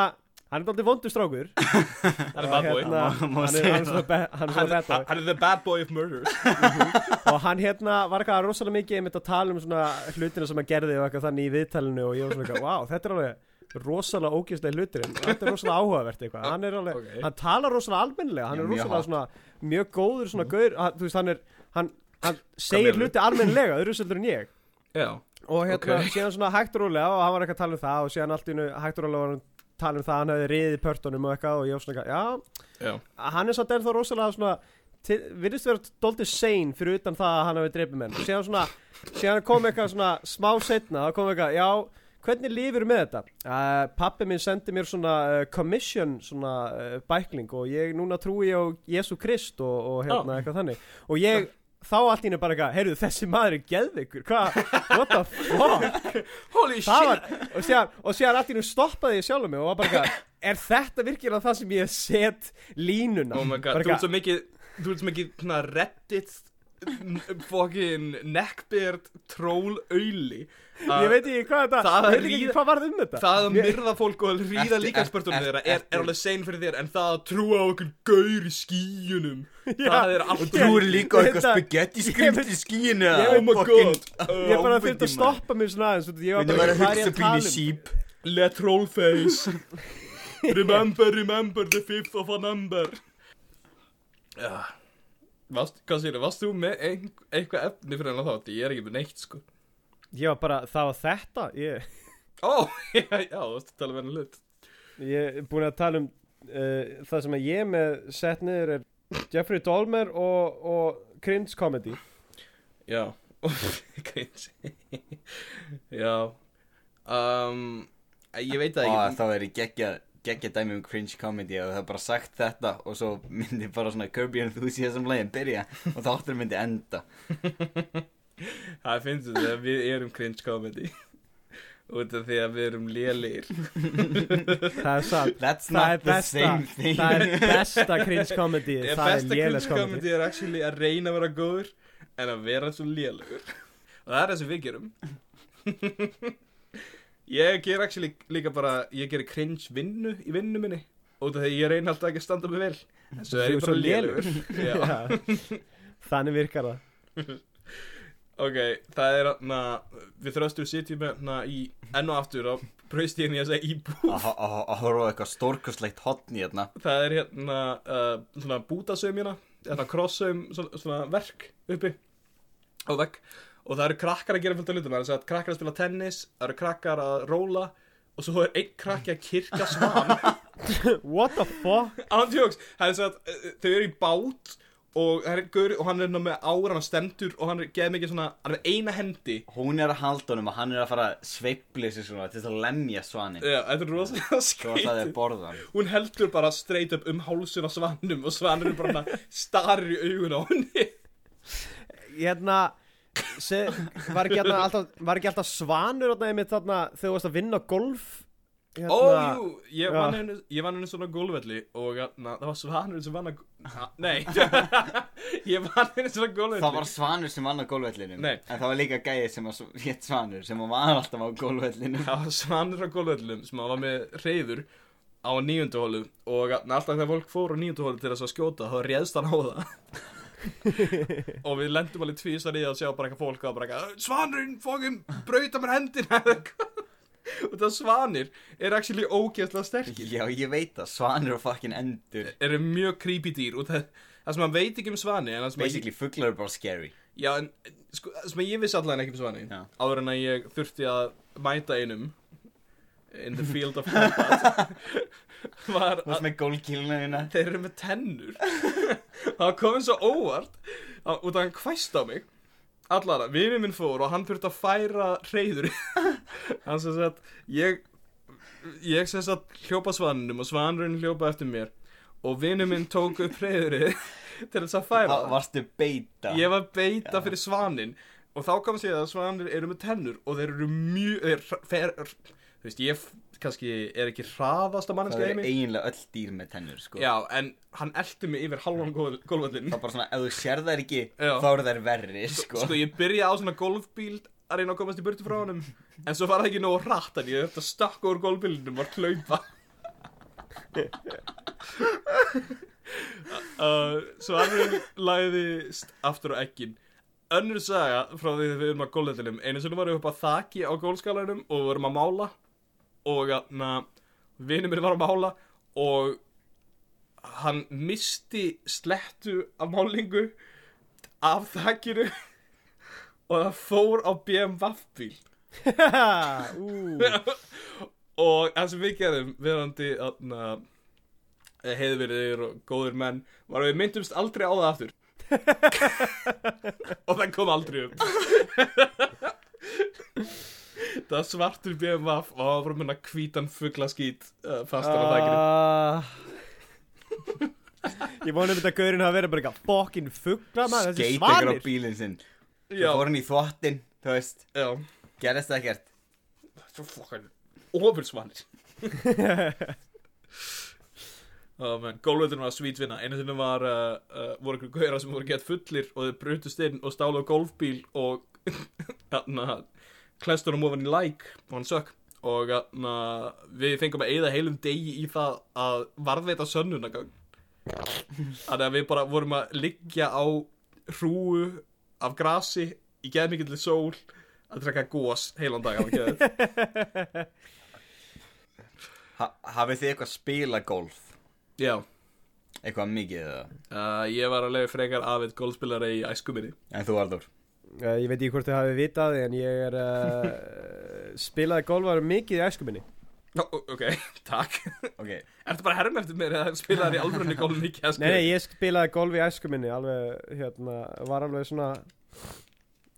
B: Hann er daldið vondur strákur
C: hann er bad boy
B: hérna,
E: Má- má
B: hann, er,
E: segja
B: hann er svona, be, hann er
C: hann
B: svona
C: er-
B: betta
C: hann er the bad boy of murder
B: Og hann hérna var eitthvað rosalega mikið einmitt að tala um svona hlutina sem hann gerði og eitthvað þannig í viðtalinu Og ég var svona, eitthvað, wow, þetta er alveg rosalega ógeðslega hlutir en þetta er rosalega áhugavert eitthvað hann er alveg,
C: Ok.
B: hann talar rosalega almennilega hann
E: Já,
B: er
E: mjög
B: rosalega
E: Mm. hot.
B: svona mjög góður svona gaur, hann, þú veist hann er hann, hann segir
C: meinarðu?
B: hluti almennilega, öðru seldur en ég
C: já,
B: og hérna,
C: Ok.
B: síðan svona hægt og rólega og hann var eitthvað að tala um það og síðan allt í hennu hægt og rólega var hann að tala um það, hann hefði riðið pörtunum og eitthvað og ég var svona, eitthvað, já,
C: já,
B: hann er samt ennþá rosalega svona til, virðist vera doldið sein fyrir utan það að hann hafi dreipið menn og síðan svona, síðan kom eitthvað svona smá setna, þá kom eitthvað, já hvernig lífur með þetta? Uh, pappi minn sendi mér svona uh, commission svona uh, bækling og ég núna trúi ég á Jésu Krist og, og hérna eitthvað þannig og ég þá allt í henni bara eitthvað, heyrðu þessi maður er geðveikur, hvað, what the fuck
C: holy
B: það
C: shit
B: var, og síðan, og síðan allt í nú stoppaði ég sjálfum mig og var bara eitthvað, er þetta virkilega það sem ég set línuna
C: oh my god,
B: Bara
C: þú ert svo
B: eitthvað,
C: mikið þú ert svo mikið svona reddit n- fucking neckbeard troll auðli
B: ég veit ekki hvað þetta
C: Það að
B: ég veit ekki
C: ríða-
B: hvað varð um þetta
C: Það að
B: Ég-
C: myrða fólk og að ríða
E: Ertu-
C: líkansbörtunum
E: ertu-
C: þeirra er,
E: ertu-
C: er alveg sein fyrir þér En það að trúa á okkur gaur í skýjunum Það er allt
E: Þú er líka á eitthvað
B: Þetta-
E: spagetti skrýmt í skíinu
B: ég
C: Oh my god
B: ég bara þurfti að stoppa mig svona aðeins út af því ég var
E: Þetta
B: bara
E: var
B: eitthvað, hvað er ég
E: að
B: að
E: hugsa bíl í
B: tala um
E: síp
C: Let roll face Remember, remember the fifth of a number Já Vast, Hvað sér, varst þú með ein, eitthvað efni fyrir hennar þátt? Ég er ekki með neitt sko
B: ég var bara, það var þetta ég,
C: Ó, já, já, þú veist að tala með hennar hlut
B: ég er búin að tala um uh, það sem að ég er með sett niður er Jeffrey Dahmer og, og cringe comedy
C: Já Grins Já um, Ég veit það
E: Og
B: Ah.
C: ekki
E: þá er ég geggja geggja dæmi um cringe comedy og það er bara sagt þetta og svo myndi bara svona Kirby Enthusiasm leginn byrja og þáttur myndi enda
C: Það finnst þetta að við erum cringe comedy Út af því að við erum lélegir
B: það er satt
E: That's
B: Það er
E: not the
B: besta,
E: same thing
B: það er besta cringe comedy
C: Ég
B: Það er
C: besta
B: lélega
C: cringe
B: comedy
C: comedy er actually að reyna að vera góður en að vera svo lélegur og það er það sem við gerum ég ger actually líka bara ég ger cringe vinnu í vinnu minni út af því að ég reyna alltaf ekki að standa mig vel en svo er
B: Þú
C: ég
B: ert
C: bara
B: svo lélegur.
C: lélegur Já.
B: Já. Þannig virkar það
C: ok, það er na, við þröstum sitjum með na, í enn og aftur á braustíðinni að segja íbú
E: Að- Að að horfa á eitthvað stórkustlegt hotni hérna
C: það er hérna uh, svona bútasaumina hérna krossaum svona, svona verk uppi á vegg og það eru krakkar að gera fullt af hlutum það er að krakkar að spila tennis, það eru krakkar að róla og svo er einn krakki að kirkja svan
B: What the fuck
C: ándjóks, það er svo að uh, þau eru í bát og, það er gaur, og hann er hérna með áran og stendur og hann er geð mikið svona, hann er með eina hendi
E: Hún er að halda honum og hann er að fara að sveifla sig svona til þess að lemja svanin
C: Já, þetta er rosalega
E: Svo að það
C: skrítið
E: er borðan
C: hún heldur bara straight up um hálsun á svanum og svanur bara svona starir í augun á henni
B: Hérna se, var, ekki hérna alltaf, var ekki alltaf svanur þarna, einmitt, þarna, Þegar þú varst að vinna á golf hérna,
C: Ó, Oh, jú, ég
B: Já.
C: vann einu, ég vann einu svona gólvelli og na, það var svanurinn sem vann að na, Nei, ég vann einu svona gólvelli
E: Það var svanur sem vann á gólvellinum
C: Nei.
E: En það var líka gæði sem að hétt svanur sem að var alltaf á gólvellinum
C: Það var svanur á gólvellinum sem var með reyður á níundu hólu og na, alltaf þegar fólk fór á níundu hólu til þess að skjóta þá réðst hann á það og við lendum alveg tvísar í að sjá bara eitthvað fólk að bara eitthvað Svanurinn, fókum, brauta mér hendina eða eitthvað og það svanir er actually ógeðslega sterkir
E: Já, ég veit það, svanur og fucking endur
C: eru mjög creepy dýr og það, það sem hann veit ekki um svani en það sem, ég,
E: Basically, fuglar eru bara scary
C: já, en, sko, það sem ég vissi allan ekki um svani
E: Já.
C: áður en að ég þurfti að mæta einum in the field of combat var
E: Þú veist
C: að
E: með gólkilina þína
C: þeir eru með tennur það komið svo óvart að, út að hann hvæst á mig allara, vinið minn fór og hann þurfti að færa reyður hann sem sagt ég, ég sem sagt hljópa svaninum og svanurinn hljópa eftir mér og vinið minn tók upp reyðurinn til þess að færa
E: Va-
C: það.
E: Varstu beita
C: ég var beita fyrir svanin og þá kom sér að svanir eru með tennur og þeir eru mjög þeir, fer, þú veist, ég f- kannski er ekki hraðasta
E: Það
C: mannskja
E: eru eiginlega öll dýr með tennur, sko
C: Já, en hann eldi mig yfir halvan gólvöldin
E: Það er bara svona, ef þú sér þær ekki,
C: Já.
E: þá eru þær verri, sko
C: Sko, ég byrja á svona gólfbíl að reyna að komast í burtu frá honum En svo var það ekki nógu hratt en ég þetta stakka úr gólfbílinum var hlaupa uh, Svo annar lagði st- aftur á ekkin Önnur saga frá því þegar við erum að gólvöldinum Einu sinni varum við upp að þaki á gólskalanum og vorum að mála og na, vinur minn var að mála og hann misti slettu af málingu af þakkinu og það fór á BMW bíl
B: Ú,
C: og það sem við gerðum verandi na, heiðverðir og góðir menn var að við myndumst aldrei á það aftur og það kom aldrei upp það var svartur BMW og það var bara að mynda hvítan fugglaskít uh, fastan á þakkinu
B: Ah. Ég vonum þetta að gaurinn hafa verið bara eitthvað fokkin fuggla maður, þessi
E: skeit ykkur á
B: svanir
E: bílinn sinn
C: Já.
E: Svo fór hann í þvottin, þú veist
C: Já,
E: Gerðist ekkert
C: svo fokkan ofursvanir Oh, Gólvöldurinn var svít vinna Einu sinni var uh, uh, voru ykkur gauðra sem voru gett fullir og þeir brutust inn og stálu á gólfbíl og þarna klæstur hann ofan í læk og hann sökk og þarna við fengum að eyða heilum degi í það að varðveita sönnunagang Þannig að við bara vorum að liggja á hrúu af grasi í geðmikilli sól að drekka gós heilan dag af geðið
E: ha Hafið þið eitthvað spila golf?
C: Já,
E: Eitthvað mikið eða?
C: uh, ég var alveg frekar afið golfspillari í æskuminni
E: En þú Arnur?
B: Uh, Ég veit ekki hvort þið hafi vitað en ég er uh, spilaði golfar mikið í æsku minni
C: Ó, ok, takk
E: Ok,
C: Ertu bara að herma eftir mér eða spilaði í sko? alvörunni golf mikið
B: Nei, nei, ég spilaði golf í æsku minni alveg, hérna, var alveg svona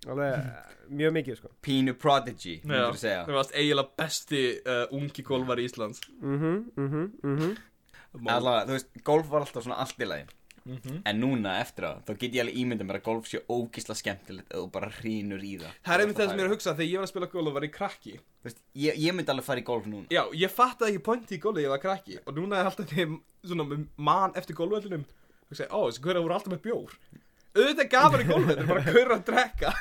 B: alveg mjög mikið sko
E: Pínu Prodigy, myndur þú
C: Þú
E: segja
C: varst eiginlega besti uh, ungi golfari í Íslands
B: Mhm, mhm, mhm
E: Allavega, þú veist, golf var alltaf svona allt í lagi
C: Mhm.
E: En núna eftir á, þá get ég alveg ímyndað mér að golf sé ógisla skemmtilegt og bara hrýnur í það
C: Það er einmitt það sem ég er að hugsa þegar ég var að spila golf var ég krakki
E: Þú veist, ég, ég myndi alveg fara í golf núna
C: Já, ég fattaði ekki pointi í golfi þegar ég var krakki og núna er alltaf þeim svona með man eftir golfvellinum og segi, ó, þessi hverja voru alltaf með bjór Auðvitað er gafar í golfi, þetta er bara hverja að drekka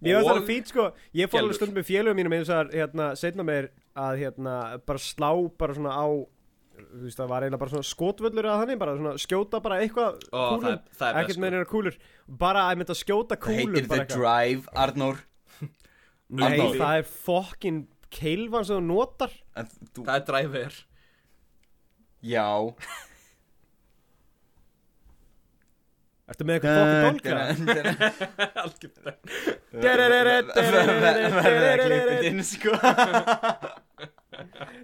B: Mér var
C: Og-
B: þetta fínt sko, ég fór
C: Gelfur.
B: alveg stundum með félögum mínum eins og þar, hérna, setna meir að hérna, bara slá bara svona á þú veist, það var eiginlega bara svona skotvöllur eða þannig, bara svona skjóta bara eitthvað
C: Ó, það er- það er best,
B: ekkert
C: sko.
B: með neina kúlur bara að mynda skjóta
E: Það heitir
B: kúlur
E: The
B: bara eitthvað.
E: Drive, Arnur
B: Nei,
E: Arnór.
B: það er fokkin keilvan sem þú notar
E: En þú,
C: Það er dræfir
E: já
B: Ertu með eitthvað fokkin dolgra?
C: Algjörlega
E: Verður að klippið inn, sko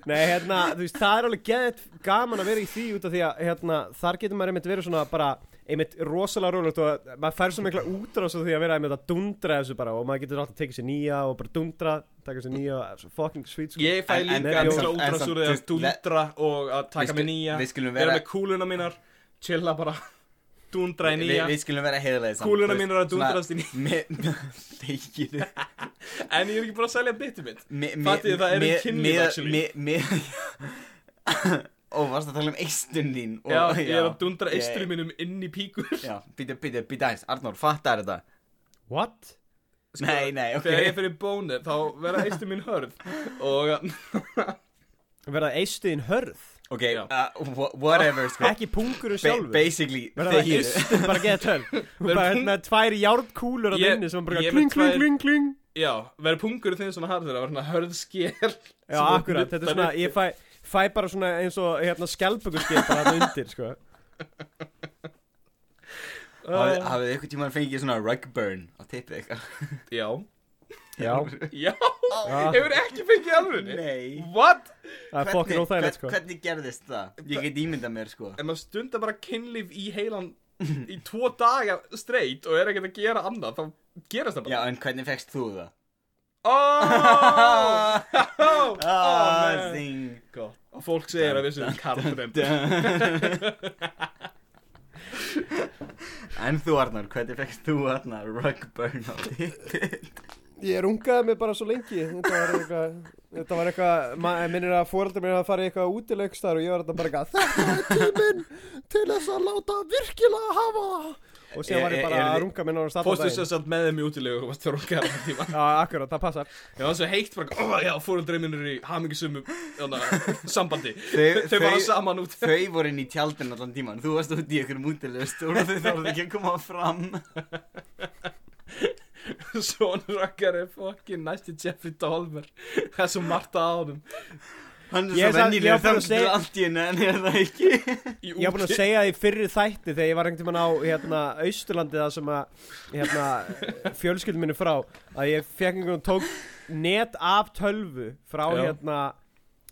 B: Nei, hérna, þú veist, það er alveg geðið gaman að vera í því út af því að hérna, þar getur maður einmitt verið svona bara einmitt rosalega rólegt og að maður fær svo mikla útrás af því að vera einmitt að dundra þessu bara og maður getur alltaf tekið sér nýja og bara dundra, taka sér nýja og svo fucking sweet sko.
C: Ég fæ
E: En- en-
C: líka
B: en-
C: mikla
E: en-
C: útrás
E: en-
C: úr því að
E: en-
C: dundra og að
E: Við
C: taka
E: skul-
C: mig nýja
E: við skulum
C: vera
E: vera-
C: með kúluna mínar chilla bara dundra í
E: Vi-
C: nýja
E: Við skulum vera heiðlega saman
C: Kúluna mín er að dúndrast í ný-
E: Þegiðu
C: En ég er ekki bara að selja byttu mitt Fattiði, það er um kynlíf, actually.
E: Ó, varst að tala um eistun þín og-
C: Já, ég er að dundra
E: Ég-
C: eistri mínum inn í píkur
E: Já, býta, býta, býta aðeins Arnór, fattar þetta
B: What?
E: Nei, nei, ok
C: Sko, Þegar ég fyrir bónið þá verða eistri mín hörð Og
B: Verða eistuðin hörð?
E: Ok,
C: Já.
E: uh, wha- whatever, sko
B: Ekki pungurinn
E: Ba
B: sjálfur?
E: Basically,
B: Verða það
E: þegiðu
B: eistuðin bara geðið tölv?
C: Verða
B: Bara hérna
C: pung-
B: með tvær járnkúlur að
C: Ég-
B: vinni sem bara
C: ég er
B: kling,
C: með
B: kling,
C: tvær-
B: kling, kling
C: já, verður pungur þinn svona harður að verða hörð skél
B: Já, akkurat, þetta er svona, ég fæ, fæ bara svona eins og hérna skjálpökuskip bara þetta undir, sko
E: Hafið hafið ykkur tíma fengið svona rug burn á tippið eitthvað
C: Já,
B: Já
C: já, hefur ekki fengið alveg
E: Nei
C: What?
B: Það er fokkin óþægilegt sko
E: Hvernig gerðist það? Ég get ímyndað mér, sko
C: en maður stundar bara kynlíf í heilan í tvo daga straight og er ekkert að gera annað, þá gerast það
E: Já,
C: bara
E: en hvernig fegst þú það?
C: oh, oh,
E: Ah,
C: man.
E: zing
C: Gott. og fólk segir að við séum karlrem
E: En þú Arnar, hvernig fegst þú Arnar rug burn á tippið?
B: Ég rungaði mig bara svo lengi Þetta var eitthvað Þetta var eitthvað ma- Minnir að fóreldur mér að fara í eitthvað útilegst þar Og ég var þetta bara eitthvað Þetta er tíminn Til þess að láta virkilega hafa það Og síðan var
E: Er-
B: ég
E: er-
B: bara
E: er-
B: að runga minn á starta
C: fórstu
B: daginn
C: sér samt með þeim í útilegu og varst þér okkar á tíma
B: Já, akkurat, það passar
C: ég var svo heitt bara, ó já, fóröldrei minn er í hamingisömu sambandi
E: Þau-
C: þau var
E: þau-
C: saman út
E: Þau voru inn í tjaldin allan tíman, þú varst út í ykkur mútilegust og þau þarf ekki að koma fram
C: Svon Rokkar er fokkin næsti Jeffrey Dahmer Það er svo margt að ánum
E: Hann er
B: Ég sagði-
E: svo
B: ég
E: vennilega
B: var búinn að
E: þöngstur
B: segja-
E: allt í henni en er það ekki
C: Í
B: Ég var búin að
C: úti-
B: segja því fyrir þætti þegar ég var einhvern tímann á hérna, Austurlandi það sem að hérna, fjölskyldum minni frá að ég fekk einhvern veginn tók net af tölvu frá
C: Já.
B: hérna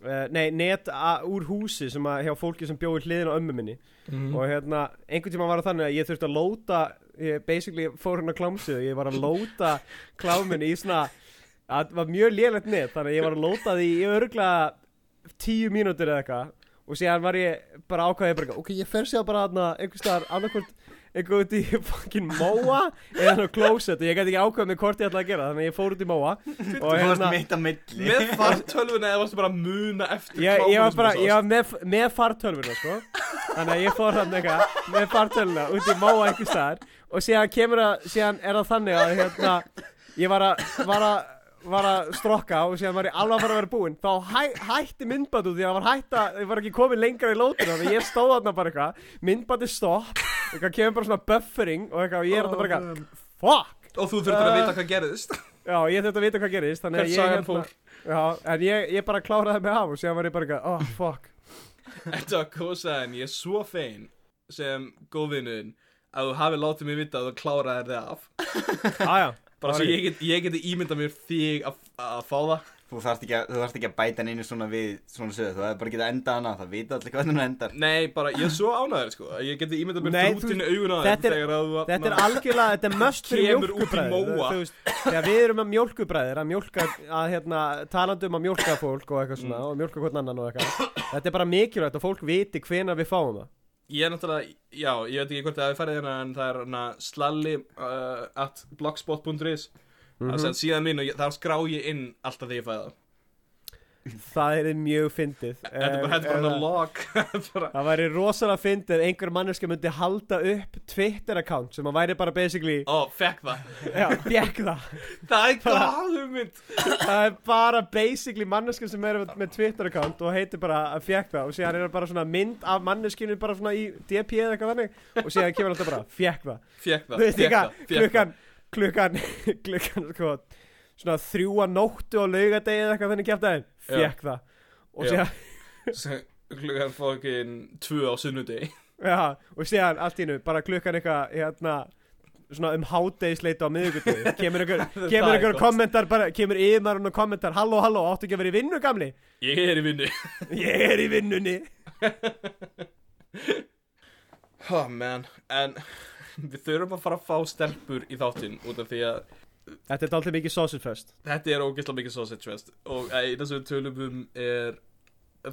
B: uh, nei, net a, úr húsi sem að hjá fólki sem bjóði hliðin á ömmu minni
C: Mhm.
B: og hérna, einhvern tímann var það þannig að ég þurfti að lóta ég basically fór hérna klámsið ég var að lóta kláminni í svona að það var mjög lélegt net þannig að ég var að lóta því í örgla tíu mínútur eða eitthvað og síðan var ég bara ákvaðið bara, eitthvað, ok, ég fer sér bara þarna einhvers staðar annarkvort eitthvað út í fucking móa eða hann á closet og ég gæti ekki ákvað með hvort ég ætlaði að gera þannig að ég fór út í móa og
E: Þú fórst
B: hérna
E: mitt að milli
C: Með fartölvuna eða varstu bara að muna eftir
B: ég, ég
C: kláminu
B: var
C: sem
B: bara,
C: þú sást?
B: ég var með, með fartölvuna sko þannig að ég fór hann eitthvað með fartölvuna út í móa einhvers staðar og síðan kemur að, síðan er það þannig að hérna, ég var að var að var að strokka og síðan var ég alveg að fara að vera búinn þá hæ, hætti myndband út því að var hætt að ég var ekki komið lengra í lótuna þannig að ég stóð þarna bara eitthvað myndbandi stopp eitthvað kemur bara svona buffering og eitthvað og ég er
C: Oh,
B: þarna bara eitthvað fuck
C: Og þú þurft bara að
B: Eh.
C: vita hvað gerðist
B: já ég þurfti að vita hvað gerist þannig
C: Hvert
B: að
C: sagan
B: ég hérna,
C: fór.
B: já en ég, ég bara kláraði mig af og síðan var ég bara eitthvað oh fuck
C: Þetta var kósaðin, ég er svo fein sem góðvinuðin að þú hafi látið mig vita að þú kláraðir þig af
B: aðja
C: bara svo ég, get, ég geti ímyndað mér þig að, að fá það
E: Þú þarft ekki, að- þú þarft ekki að bæta neinu svona við svona sögðu Þú hefði bara getað endað hana, það vita allir hvernig hún endar
C: Nei, bara ég er svo ánæður sko að ég geti ímyndað mér
B: Nei, þú-
C: þrútin í augun á
B: þetta
C: þér
B: er-
C: þegar að þú
B: Þetta er algjörlega, þetta er möst fyrir
C: Kemur út í
B: mjólkubræður
C: móa.
B: þú veist, Þegar við erum að mjólkubræður að mjólka, að hérna, talandi um að mjólka fólk og eitthvað
C: Mm.
B: svona, og mjólka hvern annan og eitthvað Þetta er bara mikilvægt að fólk viti hvena við fáum það
C: Ég er náttúrulega, já, ég veit ekki hvort það er færið hérna en það er hana slalli uh, at blogspot.is það
B: Mhm.
C: er sem síðan mín og ég, þar skrá ég inn alltaf þegar ég fæði það
B: Það er mjög fyndið Eh,
C: Þetta er bara, þetta er bara hana log Þetta er bara-
B: Það væri rosalega fyndið ef einhver manneska myndi halda upp Twitter-account sem að væri bara basically,
C: Ó, fekk það
B: já, fjekk það
C: Það er gláðum mynd
B: það er bara basically manneskin sem er með Twitter account og heitir bara að fjekk það og síðan er það bara svona mynd af manneskinu bara svona í DP eða eitthvað þannig og síðan kemur alltaf bara fjekk það
C: Fekk það,
B: þú veist
C: fékk
B: ekki
C: það,
B: að
C: fékk það
B: klukkan klukkan, klukkan sko, svona þrjúa nóttu á laugardegi eða eitthvað þannig kæft aðeins
C: Já.
B: fjekk það og
C: Já.
B: síðan,
C: Sem- klukkan fokkin tvö á sunnudegi
B: já, og síðan allt í nú bara klukkan eitthvað hérna svona um hádegisleita á miðugutegi kemur einhver,
C: Það
B: kemur
C: er
B: einhver
C: gott.
B: kommentar bara, kemur yfirmarun og kommentar halló halló, áttu ekki að vera í vinnu gamli
C: Ég er í vinnu
B: ég er í vinnunni
C: Oh man, en við þurfum að fara að fá stelpur í þáttinn út af því að
B: Þetta er alltaf mikið sausage fest
C: þetta er ógeðslega mikið sausage fest og eina sem við tölum um er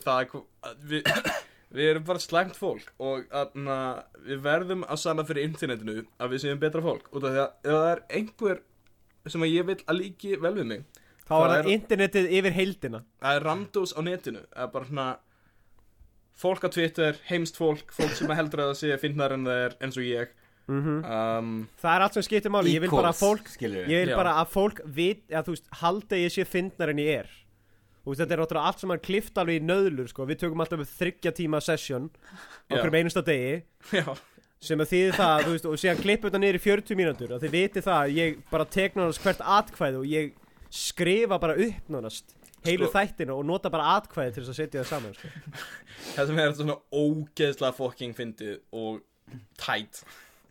C: það hv- að við, við erum bara slæmt fólk og aðna, við verðum að sanna fyrir internetinu að við séum betra fólk út af því að ef það er einhver sem að ég vil að líki vel við mig
B: Þá er
C: Það
B: það
C: er-
B: internetið yfir heildina
C: það er randos á netinu það er bara svona fólk á Twitter, heimst fólk fólk sem heldur að það sé finnar en það er eins og ég
B: Mhm.
C: um,
B: Það er allt sem skiptir máli Ég vil bara að fólk
E: skilur
B: Ég vil
C: Já.
B: bara að fólk vit að þú veist halda að ég sé fyndnar en ég er Þú veist, þetta er náttúrulega allt sem hann klift alveg í nöðlur sko. Við tökum alltaf þryggja tíma session
C: Já.
B: okkur um einasta degi
C: já,
B: sem að þýði það, þú veist, og síðan klippu þetta niður í 40 mínútur að þið viti það að ég bara tekna hans hvert atkvæð og ég skrifa bara upp nánast heilu
C: Sko-
B: þættinu og nota bara atkvæði til þess að setja það saman sko.
C: það sem er svona ógeðslega fokking fyndið og tætt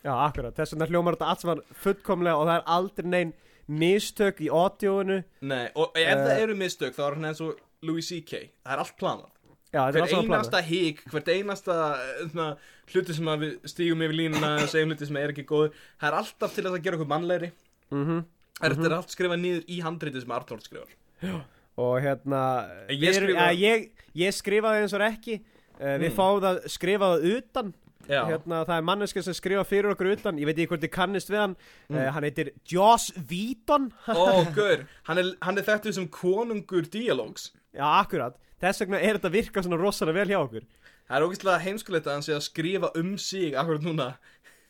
B: Já, akkurat, þess vegna hljómar þetta allt saman fullkomlega og það er aldrei neinn mistök í audióinu
C: Nei, og ef
B: Eh.
C: það eru mistök þá er hann eins og Louis C.K. Það er allt planað
B: Já, þetta er
C: Hver
B: allt saman planað
C: einasta hík, hvert einasta eh, svona, hluti sem að við stígum yfir línuna og segjum hluti sem er ekki góð Það er alltaf til þess að gera okkur mannlegri
B: Mhm.
C: Það er- Þetta er allt skrifað niður í handriti sem Arnold skrifar
B: Og hérna,
C: En ég
B: við erum-
C: skrifa- Mm.
B: eh, ég, ég skrifaði eins og ekki Uh, við fáum það skrifaða utan
C: Já,
B: hérna, það er manneska sem skrifa fyrir okkur utan ég veit ekki hvort þið kannist við hann
C: Mm.
B: uh, hann heitir Joss Víton
C: ó, gaur, hann er, hann er þekktur sem konungur dialógs
B: já, akkurat, þess vegna er þetta að virka svona rosalega vel hjá okkur já,
C: Það er ógeðslega heimskulegt að hann sé að skrifa um sig akkurat núna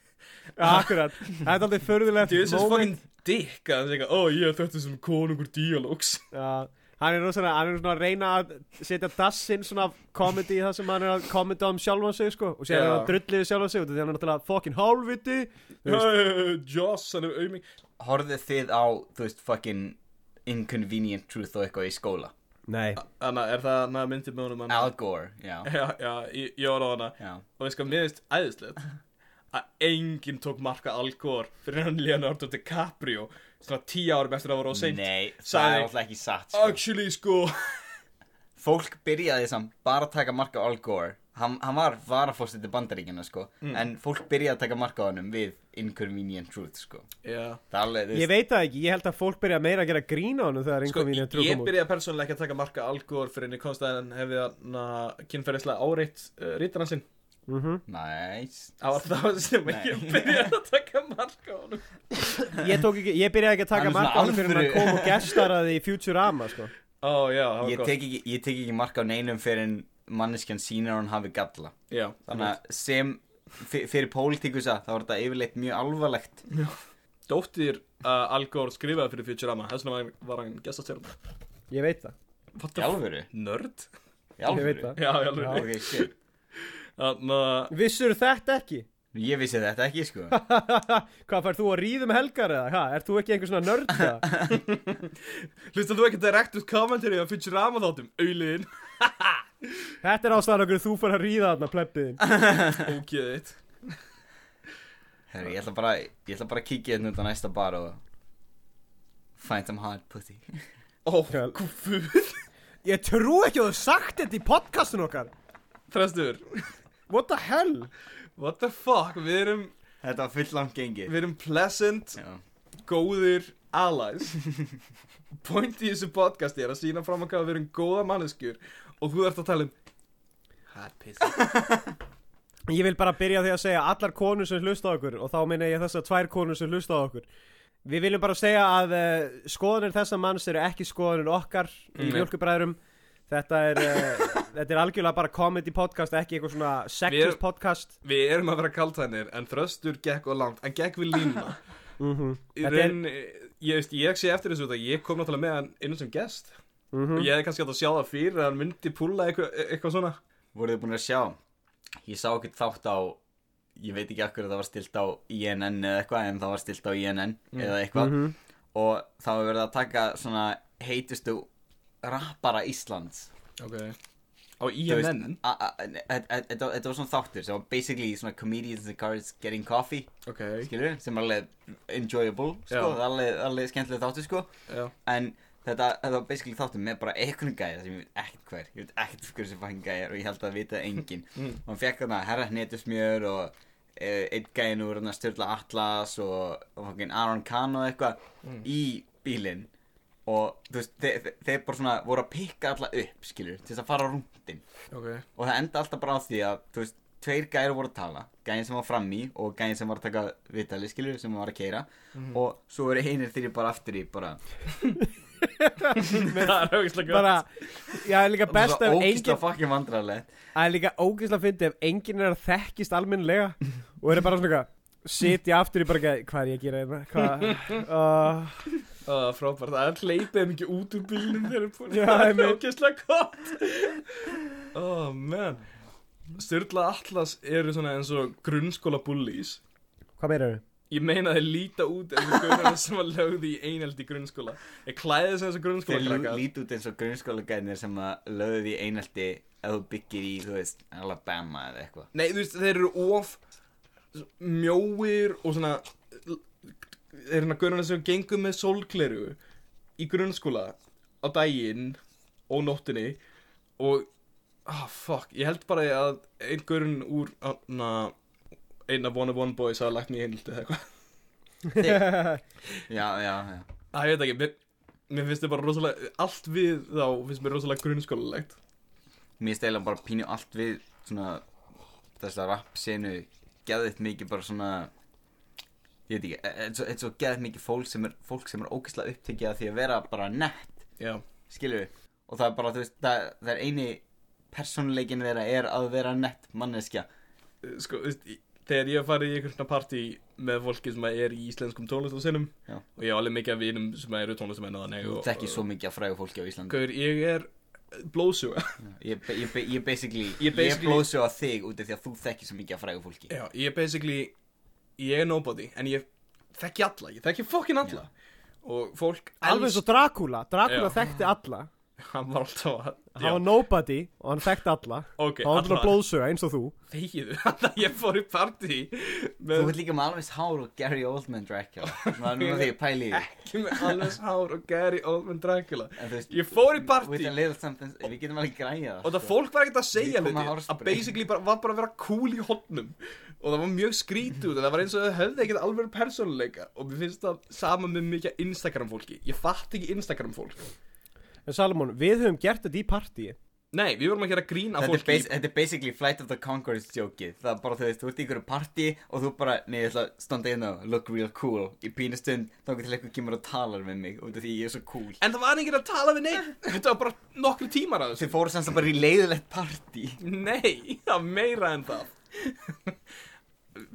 B: akkurat, þetta er aldrei förðulegt
C: Þú veist þessi fucking dick að hann segja, ó, ég er þekktur sem konungur dialógs
B: Já, hann er rosalega, hann er svona að reyna að setja dassinn svona af komedi í það sem hann er að komenda um sjálfan sig sko og sér er
C: Já.
B: hann að drullið sjálfan sig út af því að hann er náttúrulega fokkin hálfviti
C: Joss, hann er auðvitað
E: horfið þið á, þú veist, fucking Inconvenient Truth og eitthvað í skóla
B: Nei
C: Þannig er það hana myndið með honum hann
E: Al Gore, já,
C: Já, já, ég, ég var á hana
E: já
C: Og við sko, mér finnst æðislegt Að enginn tók marka Al Gore Fyrir hann Leonardo DiCaprio Svona tíu árum eftir að voru á seint
E: Nei, það
C: sagði-
E: er alltaf ekki satt sko.
C: Actually, sko
E: Fólk byrjaði samt bara að taka marka á Al Gore Hann, hann var varafórseti bandaríkina sko
B: Mm.
E: En fólk byrjaði að taka marka á honum við Inconvenient Truth sko
C: Já
E: Það er alveg, þú
B: Ég
E: veist,
B: veit það ekki, ég held að fólk byrja meira að gera grín á hann þegar
C: Sko,
B: einhverjum
C: ég ég byrjaði persónulega ekki að taka marka Al Gore Fyrir henni komst að hann hefði hann Kynferðislega áreitt uh, rítar hansinn
B: Mhm.
E: næs
C: Það var það sem ég byrjaði að taka marka á honum
B: Ég, tók ekki, ég byrjaði ekki að taka
E: Hann er
B: mark á
E: svona
B: hann fyrir hann
E: alvöru.
B: kom og gestaraði í Futurama sko.
C: Ó, já, það var
E: Ég
C: gott
E: tek ekki, ég tek ekki marka á neinum fyrir en manneskjan sýnir að hann hafi galla
C: Já,
E: Þannig að sem fyr- fyrir pólitíkusa þá var þetta yfirleitt mjög alvarlegt
C: Dóttir uh, Al Gore skrifaði fyrir Futurama Þess vegna var- var hann gestastjörn
B: Ég veit það
E: Í alvöru?
C: Nörd?
E: Í
B: Ég veit
E: alvöru?
B: það
C: Já, já, alveg
E: Ok, shit
C: Þannig að
B: Vissur þetta ekki?
E: Ég vissi þetta ekki sko
B: Hvað fær þú að ríðum helgar eða? Hvað, er þú ekki einhver svona nörd eða?
C: Hlustar þú ekki direct út commentary á Futurama þáttum? Auliðin
B: Þetta er ástæðan okkur þú fær að ríða þarna plebbiðin
C: Ógeðið þitt
E: Herri, ég ætla bara, ég ætla bara að kíkja hérna út á næsta bar og Find some hard pussy
C: Ó,
B: Kjál.
C: gufuð
B: Ég trú ekki að þú sagt þetta í podcastun okkar
C: Þræstur
B: What the hell?
C: What the fuck Við erum,
E: Þetta var full langt gengi
C: við erum pleasant
E: Já.
C: Góðir allies Point í þessu podcasti er að sína fram að hvað við erum góða manneskjur Og þú ert að tala um Hard piss
B: Ég vil bara byrja á því að segja að allar konur sem hlusta á okkur og þá minna ég þess að tvær konur sem hlusta á okkur Við viljum bara segja að uh, skoðanir þessa manns eru ekki skoðanir okkar í
C: Nei.
B: mjölkubræðurum Þetta er, uh, þetta er algjörlega bara comedy podcast, ekki eitthvað svona
C: Við
B: sexist
C: erum-
B: podcast
C: Við erum að vera kaltænir en þröstur gekk og langt, hann gekk við línuna Í
B: Þetta er-
C: raun, ég veist, ég sé eftir þessu þetta, ég kom náttúrulega með hann inn sem gest og ég hefði kannski átt að sjá það fyrir að hann myndi púla eitthvað, eitthvað svona
E: Voruð þið búin að sjá Ég sá ekkert þátt á Ég veit ekki akkur að það var stilt á INN eða eitthvað En það var stilt á INN eða eitthvað Og þá hefur verið að taka svona heitustu rappara Íslands
C: Ok Á E
E: Þú veist,
C: IMN
E: a- a- e, a- þetta- Þetta þetta- þetta var svona þáttur sem var basically svona comedians and cars getting coffee
C: Ok,
E: skilur, sem er alveg enjoyable sko,
C: Já.
E: alveg, alveg skemmtileg þáttur sko
C: já
E: en þetta, þetta var basically þáttur með bara einhvern gæja sem ég veit ekkert hver ég veit ekkert hver sem fann gæjar og ég held að vita engin
C: Mm.
E: og hann fekk þarna herra hnetusmjör og e, einn gæjin úr hann að styrla Atlas og, og fucking Aaron Kahn og eitthvað
C: Mm.
E: í bílinn og þú veist, þeir, þeir- þeir bara svona voru að pikka alla upp, skilur, til þess að fara á rúndin
C: Ok
E: og það enda alltaf bara á því að þú veist, tveir gæri voru að tala gæin sem var frammi og gæin sem var að taka vitali skilur sem var að keira og svo eru hinir þeirri bara aftur í bara
C: Það er auðvitað gott
B: Bara, já, það er líka best ef
E: ógist
B: enginn
E: að fucking vandrarlegt
B: Það er líka ógeðslega fyndi ef enginn er að þekkist almennilega og er bara svona eitthvað sitja aftur í bara ekki, hvað er ég að gera hérna, hvað uh,
C: uh, Frábært, það er hleypið þeim ekki út úr bílnum þegar þeir búin
B: Já,
C: Það er
B: einmitt.
C: ógeðslega gott Oh man Sturla Atlas eru svona eins og grunnskóla bullies
B: Hvað meira eru?
C: Ég meina þeir líta út eins og gauðar sem var lögð í einhald í grunnskóla Ég klæði þessu eins og
E: þeir
C: grunnskóla
E: lú- líta út eins og grunnskóla gænir sem að löðu því einhaldi ef þú byggir í, þú veist, Alabama eða eitthvað
C: Nei, þú veist, þeir eru of mjóir og svona Þeir eru gauðar sem gengum með sólgleru í grunnskóla á daginn og nóttinni og, ah, fuck, ég held bara að einn gauðurinn úr, na, einn af One of One Boys hafa lagt mig í einhaldi eða eitthvað
E: já, já, já
C: Æ, ég veit ekki, mér, mér finnst þið bara rosalega, allt við þá finnst mér rosalega grunnskólalegt
E: mér stæla bara pínu allt við svona þessa rap senu geðið mikið bara svona ég veit ekki, eins og, eins og geðið mikið fólk sem er, fólk sem er ógeðslega upptekið af því að vera bara nett,
C: Já,
E: skilur við og það er bara, þú veist, það, það er eini persónuleikin þeirra er að vera nett manneskja,
C: sko, þú veist, í- þegar ég hef farið í einhvern partí með fólki sem er í íslenskum tónlistasinum
E: Já.
C: og ég á alveg mikið af vinum sem eru tónlistamenn og þannig
E: þú
C: og-
E: tekki
C: og-
E: svo mikið af frægu fólki á Íslandi
C: Gaur, ég er blóðsuga
E: ég, be- ég, be- ég basically,
C: Ég
E: ég, ég
C: basically-
E: blóðsjó að þig út af því að þú tekki svo mikið af frægu fólki
C: Já, ég er basically, ég er nobody en ég þekki alla, ég þekki fokkin alla og fólk
B: Alveg eins og Dracula, Dracula
C: Já.
B: þekkti alla
C: hann var alltaf að,
B: Hann var nobody og hann þekkti alla
C: Ok,
B: Það var
C: alla.
B: bara blóðsuga eins og þú
C: þegiðu þannig að ég fór í partí
E: Þú
C: með
E: veit líka með alveg hár og Gary Oldman Dracula Það er núna því ég pæli í því
C: ekki með Hannes Hár og Gary Oldman Dracula
E: En þú veist,
C: ég fór í
E: with
C: partí
E: a little something Við getum alveg sko. græja
C: og það fólk var ekkert að segja
E: Við komum
C: hluti
E: að
C: að
E: hárspray.
C: basically bara, var bara að vera cool í hotnum og það var mjög skrítið út en það var eins og þau höfðu ekkert alveg persónuleika og mér finnst það sama með mikið Instagram fólki ég fatt ekki Instagram fólk
B: En Salomon, við höfum gert þetta í partíi
C: nei, við vorum að gera grín af
E: Þetta er,
C: fólki
E: bas þetta er basically Flight of the Conchords joke Það er bara þú veist, þú ert í einhverju party og þú bara, nei, ég ætla að standa inn og look real cool í pínustund, þá getur eitthvað kemur og talar með mig út af því ég er svo cool
C: en það var enginn að tala við neitt þetta var bara nokkru tímar að þessu
E: Þið fóru semst að bara í leiðilegt party
C: Nei, það er meira en það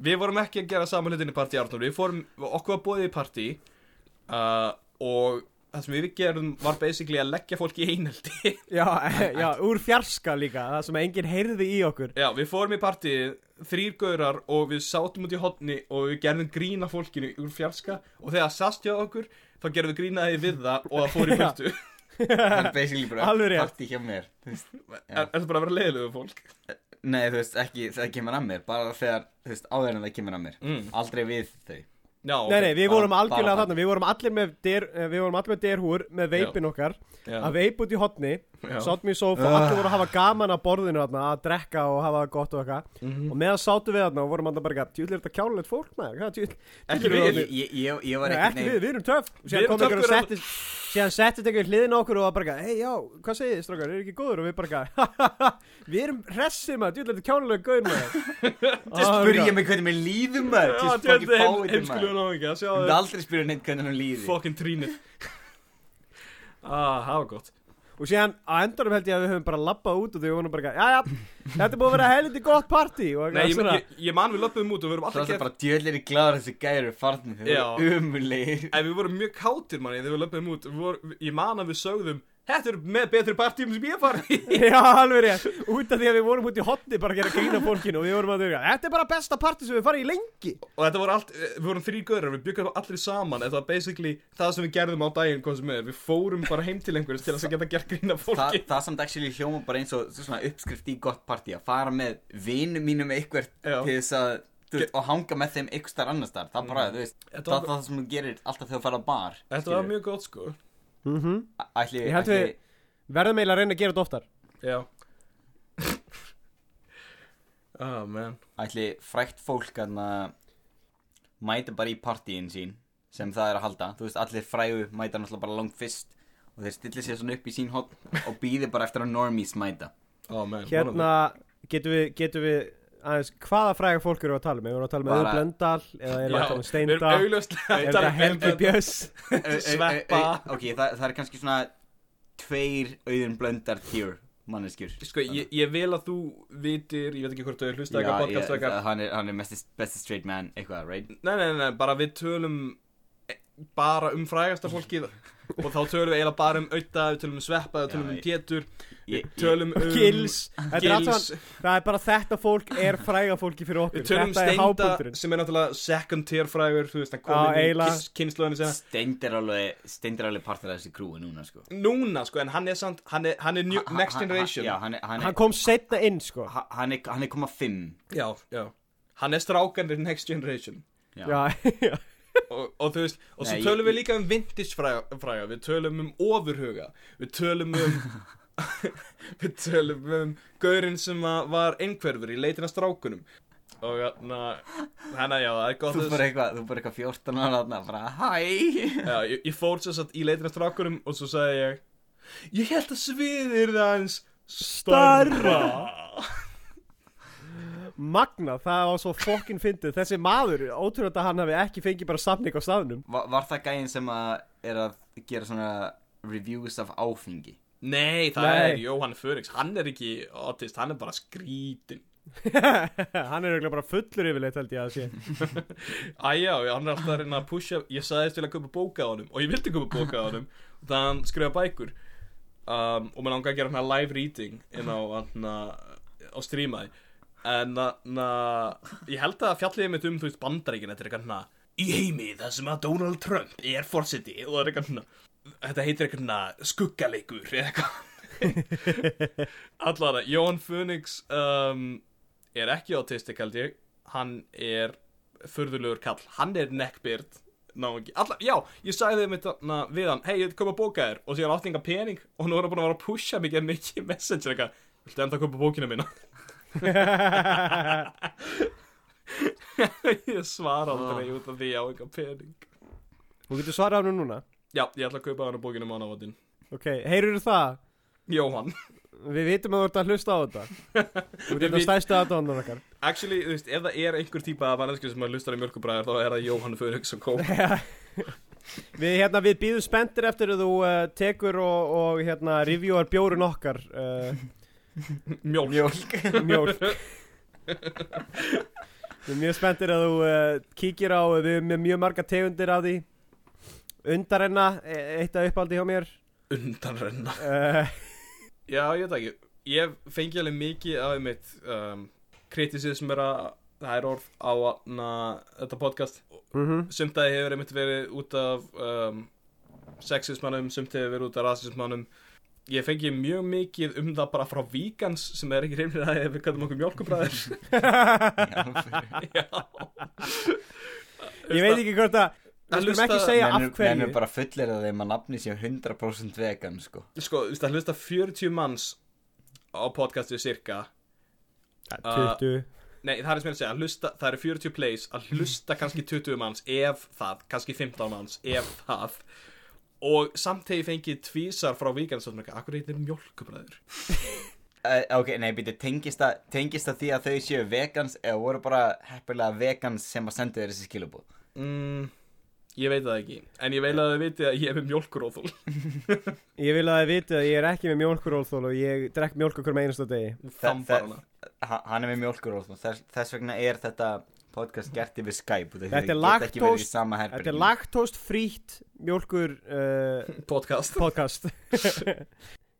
C: Við vorum ekki að gera saman hlutin í partí Arnur Við fórum, okkur var bóðið í partí uh, Og það sem við gerðum var basically að leggja fólk í einhaldi
B: Já, já, úr fjarska líka Það sem enginn heyrði í okkur
C: Já, við fórum í partí Þrýr gaurar og við sátum út í hotni Og við gerðum grína fólkinu úr fjarska Og þegar það sast hjá okkur Þá gerðum við grínaði við það og það fór í burtu
E: Það er basically
B: Alveg
E: bara
B: rétt.
E: party hjá mér þú veist,
C: Er er það bara að vera leiðilegu fólk?
E: Nei, þú veist, ekki það kemur að mér bara þegar, þú veist, áður en það kemur að mér
C: Mm.
E: Aldrei við þau
C: Já,
B: Nei, nei, við
E: bara-
B: vorum algjörlega
E: bara-
B: þarna Við vorum allir með, der, eh, við vorum allir með derhúr með veipin okkar
C: Já.
B: að veip út í hotni
C: Já.
B: sátum í sófa og allir voru að hafa gaman að borðinu þarna, að drekka og hafa það gott og eitthvað og meðan sátum við þarna og vorum alltaf bara eitthvað djúðlega þetta kjálulegt fólk maður hvað, djú-
C: Ekki
B: djú-
C: við,
B: djú-
E: Ég, ég, ég, ég var
B: Nei,
E: ekkert
B: ekki við, við erum töff
C: Við
B: síðan
C: erum
B: kom einhver og
C: töff,
B: settist síðan settist einhver við hliðin á okkur og var bara eitthvað hei já, hvað segið þið strókar, eru ekki góður og við bara eitthvað við erum hressir maður, djúðlega þetta kjálulega gaur maður
E: Just
B: Ah,
E: spyrja mig hvernig mér líður maður
C: Já,
E: Just
C: þetta
E: fucking
C: er
E: fáið þið maður
C: heimskulega náðingi
E: Ég myndi aldrei spyrja neitt hvernig hann líður
C: Fokkin trínir Ah, það var gott
B: Og síðan á endanum held ég að við höfum bara labbað út og þau vorum bara, já, já, þetta er búið að vera helviti gott partí og
C: Nei, ég,
B: svona,
C: ég, ég man við löpum út og við vorum
E: Það
C: alltaf
E: er
C: gett
E: bara djöðlir í glæður þessi gæri farnir Þeir
C: Já.
E: eru umulegir
C: En við vorum mjög kátir manni þegar við löpum út við vorum, Ég man að við sögðum Þetta er með betri partíum sem ég hef farið í."
B: já, alveg rétt, út af því að við vorum út í hotni bara að gera grína fólkinu og við vorum að þau, þetta er bara besta partí sem við farið í lengi.
C: Og þetta voru allt eh, Við vorum þrý göður Við byggum allir saman Þetta var basically það sem við gerðum á daginn Hvað sem er Við fórum bara heim til einhvers Til þess að geta gert grína
E: Þa,
C: fólki
E: það samt actually hljóma bara eins og svona uppskrift í gott partí að fara með vinum mínum eitthvert
C: Já.
E: til þess að þú veist, og hanga með þeim eitthvað starf annars þar það er bara, þú veist,
C: Mm. Þetta
E: það
C: var-
E: er það sem þú gerir alltaf þegar þú fara á bar
C: Þetta var mjög gott sko
E: ætli,
B: Ég held
E: ætli,
B: við- Verðum eiginlega að reyna að gera þetta oftar.
C: Já
E: Ah,
C: Oh man
E: ætli frækt fólk að mæta bara í partíin sín sem það er að halda, þú veist, allir frægu mæta náttúrulega bara langt fyrst og þeir stilli sér svona upp í sín hot og býði bara eftir að normies mæta
C: Oh man
B: Hérna getum við, getum við, aðeins, hvaða fræga fólk eru að tala með? Erum við að tala með
E: Bara-
B: Öður Blöndal eða erum við að tala með Steindal?
C: Við erum
B: Er þetta Helgi
C: augljóslega
B: Björns?
C: Sveppa.
E: Ok, það, það er kannski svona tveir auðun blöndar týr manneskjur
C: Sko, ég, ég vil að þú vitir, ég veit ekki hvort þau hlusta
E: Já,
C: eitthvað
E: ég-
C: podcast eitthvað.
E: hann er, hann er mest, besti straight man eitthvað, right?
C: Nei, nei, nei, bara við tölum e- bara um frægasta fólkið og þá tölum við eiginlega bara um Auta, við tölum um Sveppa, við
E: Já,
C: tölum um
E: ég-
C: Pétur,
E: Ég,
C: við tölum um
B: Gils? Þetta er allt
C: Gils,
B: saman- Það er bara þetta fólk er fræga fólki fyrir okkur.
C: við tölum um
B: Þetta er
C: Steinda
B: hápunkturinn.
C: sem er náttúrulega second tier frægur, þú veist, hann
B: Já,
C: komið
B: eiginlega.
C: í kynnslóðinu
E: ég,
C: sinna.
E: steind er alveg, steind er alveg partur af þessi krúi núna, sko
C: Núna, sko, en hann er samt, hann er, hann er new,
E: Ha-
C: next
E: ha- ha-
C: generation.
E: Já, hann er, hann
B: Hann
E: er,
B: kom setna inn, sko.
E: ha- hann er, hann er koma fimm
C: já, já. Hann er strákanir next generation.
B: Já, já.
C: og, og þú veist, og svo
E: Nei,
C: tölum
E: ég-
C: við líka um vintage fræga, fræga, við tölum um ofurhuga, við tölum um við tölum um gaurinn sem að var einhverfur í leitina strákunum og hérna, hérna já, það er gott
E: Þú
C: að-
E: bara eitthvað, þú bara eitthvað 14 ára þarna, bara hæ
C: já, ég, ég fór svo satt í leitina strákunum og svo sagði ég ég held að sviðir það eins
B: Starra Magna, það var svo fokkin fyndið Þessi maður, ótrúlega að hann hafi ekki fengið bara samning á staðnum
E: Var, var það gæinn sem að er að gera svona reviews af áfengi?
C: nei, það
B: Nei.
C: er Jóhann Föriks, hann er ekki autist, hann er bara skrítin
B: Hann er eiginlega bara fullur yfirleitt held ég að sé
C: Æjá, hann er alltaf að reyna að pusha Ég sagðist til að köpa bóka á honum Og ég vildi köpa bóka á honum Og það hann skrifa bækur um, Og mér langaði að gera hann að live reading Inn á, hann, á streamaði En na, na, ég held að fjallið mitt um Þú veist bandaríkin Þetta er eitthvað hann í heimi þar sem að Donald Trump er forseti og það er eitthvað svona þetta heitir eitthvað svona skuggaleikur eða eitthvað allara, Jón Funix um, er ekki autistik held ég hann er furðulegur kall, hann er neckbeard náungi, allar, já, ég sagði þeim na, við hann, hei, ég kom að bóka þér og síðan átti enga pening og nú er hann búin að vera að pusha mikið mikið messenger eitthvað, viltu enda að kaupa bókina mína ég svara aldrei út af því ég á enga pening
B: Þú getur svarað hann núna
C: já, ég ætla að kaupa hann bókina um ánavatinn
B: Ok, heyrur það
C: Jóhann
B: Við vitum að þú ert að hlusta á þetta Þú ert að
C: vit-
B: stæsta aðdóðan okkar
C: Actually, þú veist, ef það er einhver típa af mannesku sem að lustar í mjölkubræðar þá er það Jóhann Fönix og Kó
B: Við, hérna, við býðum spenntir eftir að þú uh, tekur og, og hérna, reviewar bjórun okkar uh,
C: Mjólk
E: Mjólk
B: mjólk Við erum mjög spenntir að þú uh, kíkir á við erum með mjög marga tegundir af því Undarenna, e- eitt af uppaldi hjá mér
C: Undanrenna
B: uh,
C: Já, ég veit það ekki Ég fengi alveg mikið af mitt um, kritisið sem er að það er orð á na, þetta podcast
B: mm
C: Mhm. Sumtaði hefur einmitt verið út af um, sexismannum, sumtaði hefur verið út af rasismannum Ég fengi mjög mikið um það bara frá víkans sem er ekki reynir að við kallum okkur mjölkubræðar
B: Ég veit ekki hvort að Við
C: Að
B: skulum ekki
C: hlusta-
B: segja af
E: Menn
B: hverju
E: er bara fullir að þeim að nafni séu 100% vegan sko
C: sko, þú veist, að hlusta 40 manns á podcastið cirka uh,
B: 20
C: nei, það er sem ég er að segja, að hlusta, það eru 40 plays að hlusta kannski 20 manns ef það, kannski 15 manns, ef það og samt þegar ég fengið tvísar frá víkans og svona, akkur heitir mjölkubræður
E: uh, Ok, nei, býti, tengist það tengist það því að þau séu vegans eða voru bara heppilega vegans sem að senda þér þessi skilabúð
C: mm, ég veit það ekki en ég veit að þau viti að ég er með mjölkuróþól
B: Ég vil að þið viti að ég er ekki með mjólkuróðþól og ég drekk mjólk okkur með einasta degi
C: þambar hana
E: Ha- Hann er með mjólkur og þess, þess vegna er þetta podcast gert yfir Skype og
B: Þetta er
E: geta ekki verið í
B: lactose-
E: sama
B: Þetta er
E: herbergi.
B: lagtóst frýtt mjólkur uh,
C: podcast
B: podcast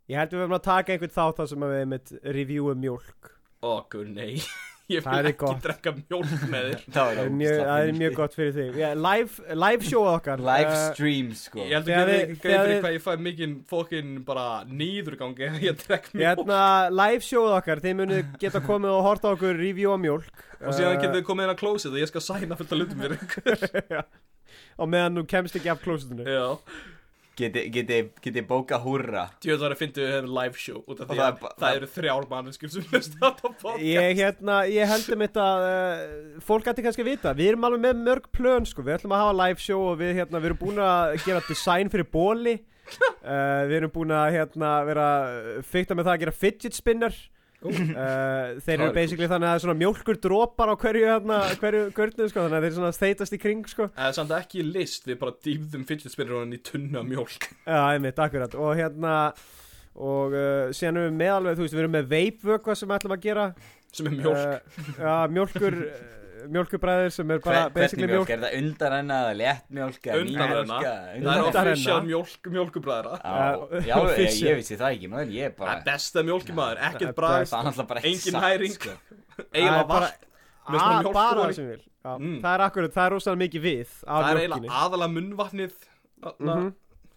B: Ég held við verðum að taka einhvern þátt þar sem að við mitt reviewum mjólk
C: okkur nei, ég
B: Það
C: vil
B: er
C: ekki
B: gott.
C: drekka mjólk með þér
E: Það
B: Það
E: er
B: er mjög, það er mjög gott fyrir þig yeah, live, live show okkar
E: Live
B: Eh,
E: stream sko
C: Ég held
B: Þegar
C: að
B: við-
C: gera ekki greið
B: þegar
C: fyrir
B: við-
C: hvað ég fæ mikinn fokkin bara nýðurgangi Ég drekk mjólk
B: Hérna, live showð okkar, þið munið geta komið og horta okkur review á mjólk Eh,
C: Og síðan getur þið komið inn á klósið og ég skal sæna fullt að lutum fyrir ykkur
B: getur Og meðan þú kemst ekki af klósitinu
C: Já
E: Geti, geti, geti bóka húrra
C: Djöðu þar að fyndi við hefum live show út af
E: Og
C: því
E: það er
C: að
E: ba-
C: það eru þrjár manneskjum sem hlusta á þetta podcast
B: Ég, hérna, ég heldum þetta uh, Fólk ætti kannski að vita Við erum alveg með mörg plön sko. Við ætlum að hafa live show og við, hérna, við erum búin að gera design fyrir bóli uh, Við erum búin að hérna, vera fyrta með það að gera fidget spinner uh, Þeir
E: Það
B: eru
E: er
B: basically þannig að það er svona mjólkur dropar á hverju, hérna, hverju görnu sko, Þannig að þeir svona þeitast í kring sko.
C: Það er samt ekki list, við bara dýfðum fidget spinner og hann í tunna mjólk
B: Já, einmitt, akkurat Og hérna Og uh, síðan erum við með alveg, þú veist, við erum með vape vökva sem við ætlum að gera
C: Sem er mjólk
B: uh, Já, mjólkur uh, Mjólkurbræðir sem er bara
E: Hver-
B: basically
E: Hvernig mjólk?
B: mjólk
E: Er það undanrenna eða léttmjólk eða
C: Undanrenna.
E: nýmjólk?
C: Það er
B: Þetta er
C: official
B: hennar.
C: mjólk, mjólkubræðra
E: Já,
B: Já,
E: já ég,
B: official.
E: ég vissi það ekki maður, ég er
C: Það
E: bara
C: er besta mjólkumaður,
B: það
C: ekkert
B: er
C: bræð
E: Það er alltaf bara ekki
C: Engin
E: satt,
C: næring.
E: sko.
C: Eiginlega
B: er bara-
C: vatn með svona
B: Ah,
C: mjólk
B: Bara
C: ofan í.
B: það sem vil já,
C: Mm.
B: Það er akkurat, það er rosalega mikið við Af
C: Það er
B: mjólkinni
C: eiginlega aðalega munnvatnið þarna,
B: Mhm.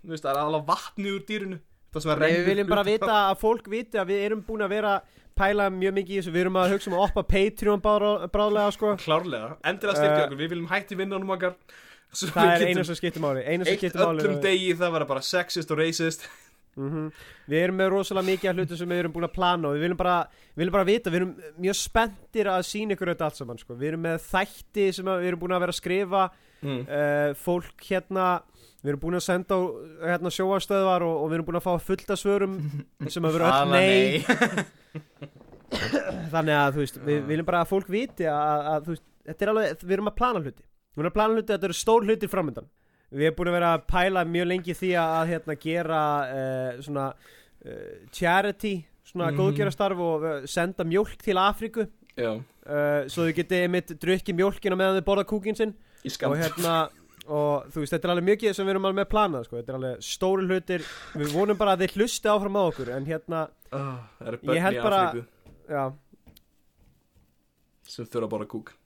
C: Þú veist, Það er aðalega vatnið úr dýrinu Það sem að
B: Við
C: rennur
B: viljum bara
C: út.
B: vita að fólk viti að við erum búin að vera pæla mjög mikið í þessu, við erum að hugsa um að oppa Patreon bára- bráðlega sko
C: Klárlega, endilega styrkja
B: Eh,
C: okkur, við viljum hætti vinnanum okkar Svo
B: Það
C: við
B: er einu
C: getum
B: sem skiptir máli, einu sem
C: eitt
B: skiptir máli
C: öllum degi það vera bara sexist og racist
B: mm Við erum með rosalega mikið af hlutum sem við erum búin að plana og við viljum bara, við viljum bara vita, við erum mjög spenntir að sína ykkur þetta allt saman sko Við erum með þætti sem að- við erum búin að vera að skrifa
C: mm.
B: uh, fólk hérna við erum búin að senda á hérna, sjóastöðvar og, og við erum búin að fá fullt af svörum sem að vera öll
E: Alla
B: nei þannig að þú veist við við viljum bara að fólk viti að, að þú veist þetta er alveg við erum að plana hluti við erum að plana hluti þetta eru stór hlutir framöndan við erum búin að vera að pæla mjög lengi í því að að, hérna gera uh, svona uh, charity svona
C: Mhm.
B: góðgerastarf og eh, senda mjólk til Afríku
C: Já,
B: uh, svo þau geti einmitt drukkið mjólkina meðan þau borða kúkin sinn
C: í skam
B: og hérna og þú veist, þetta er alveg mjög sem við erum alveg með planað sko. þetta er alveg stóri hlutir við vonum bara að þið hlusti áfram á okkur en hérna,
C: Það eru Ah,
B: Ég
C: börn
B: held
C: í
B: bara-
C: Afríku
B: já,
C: sem þurfa bara kúk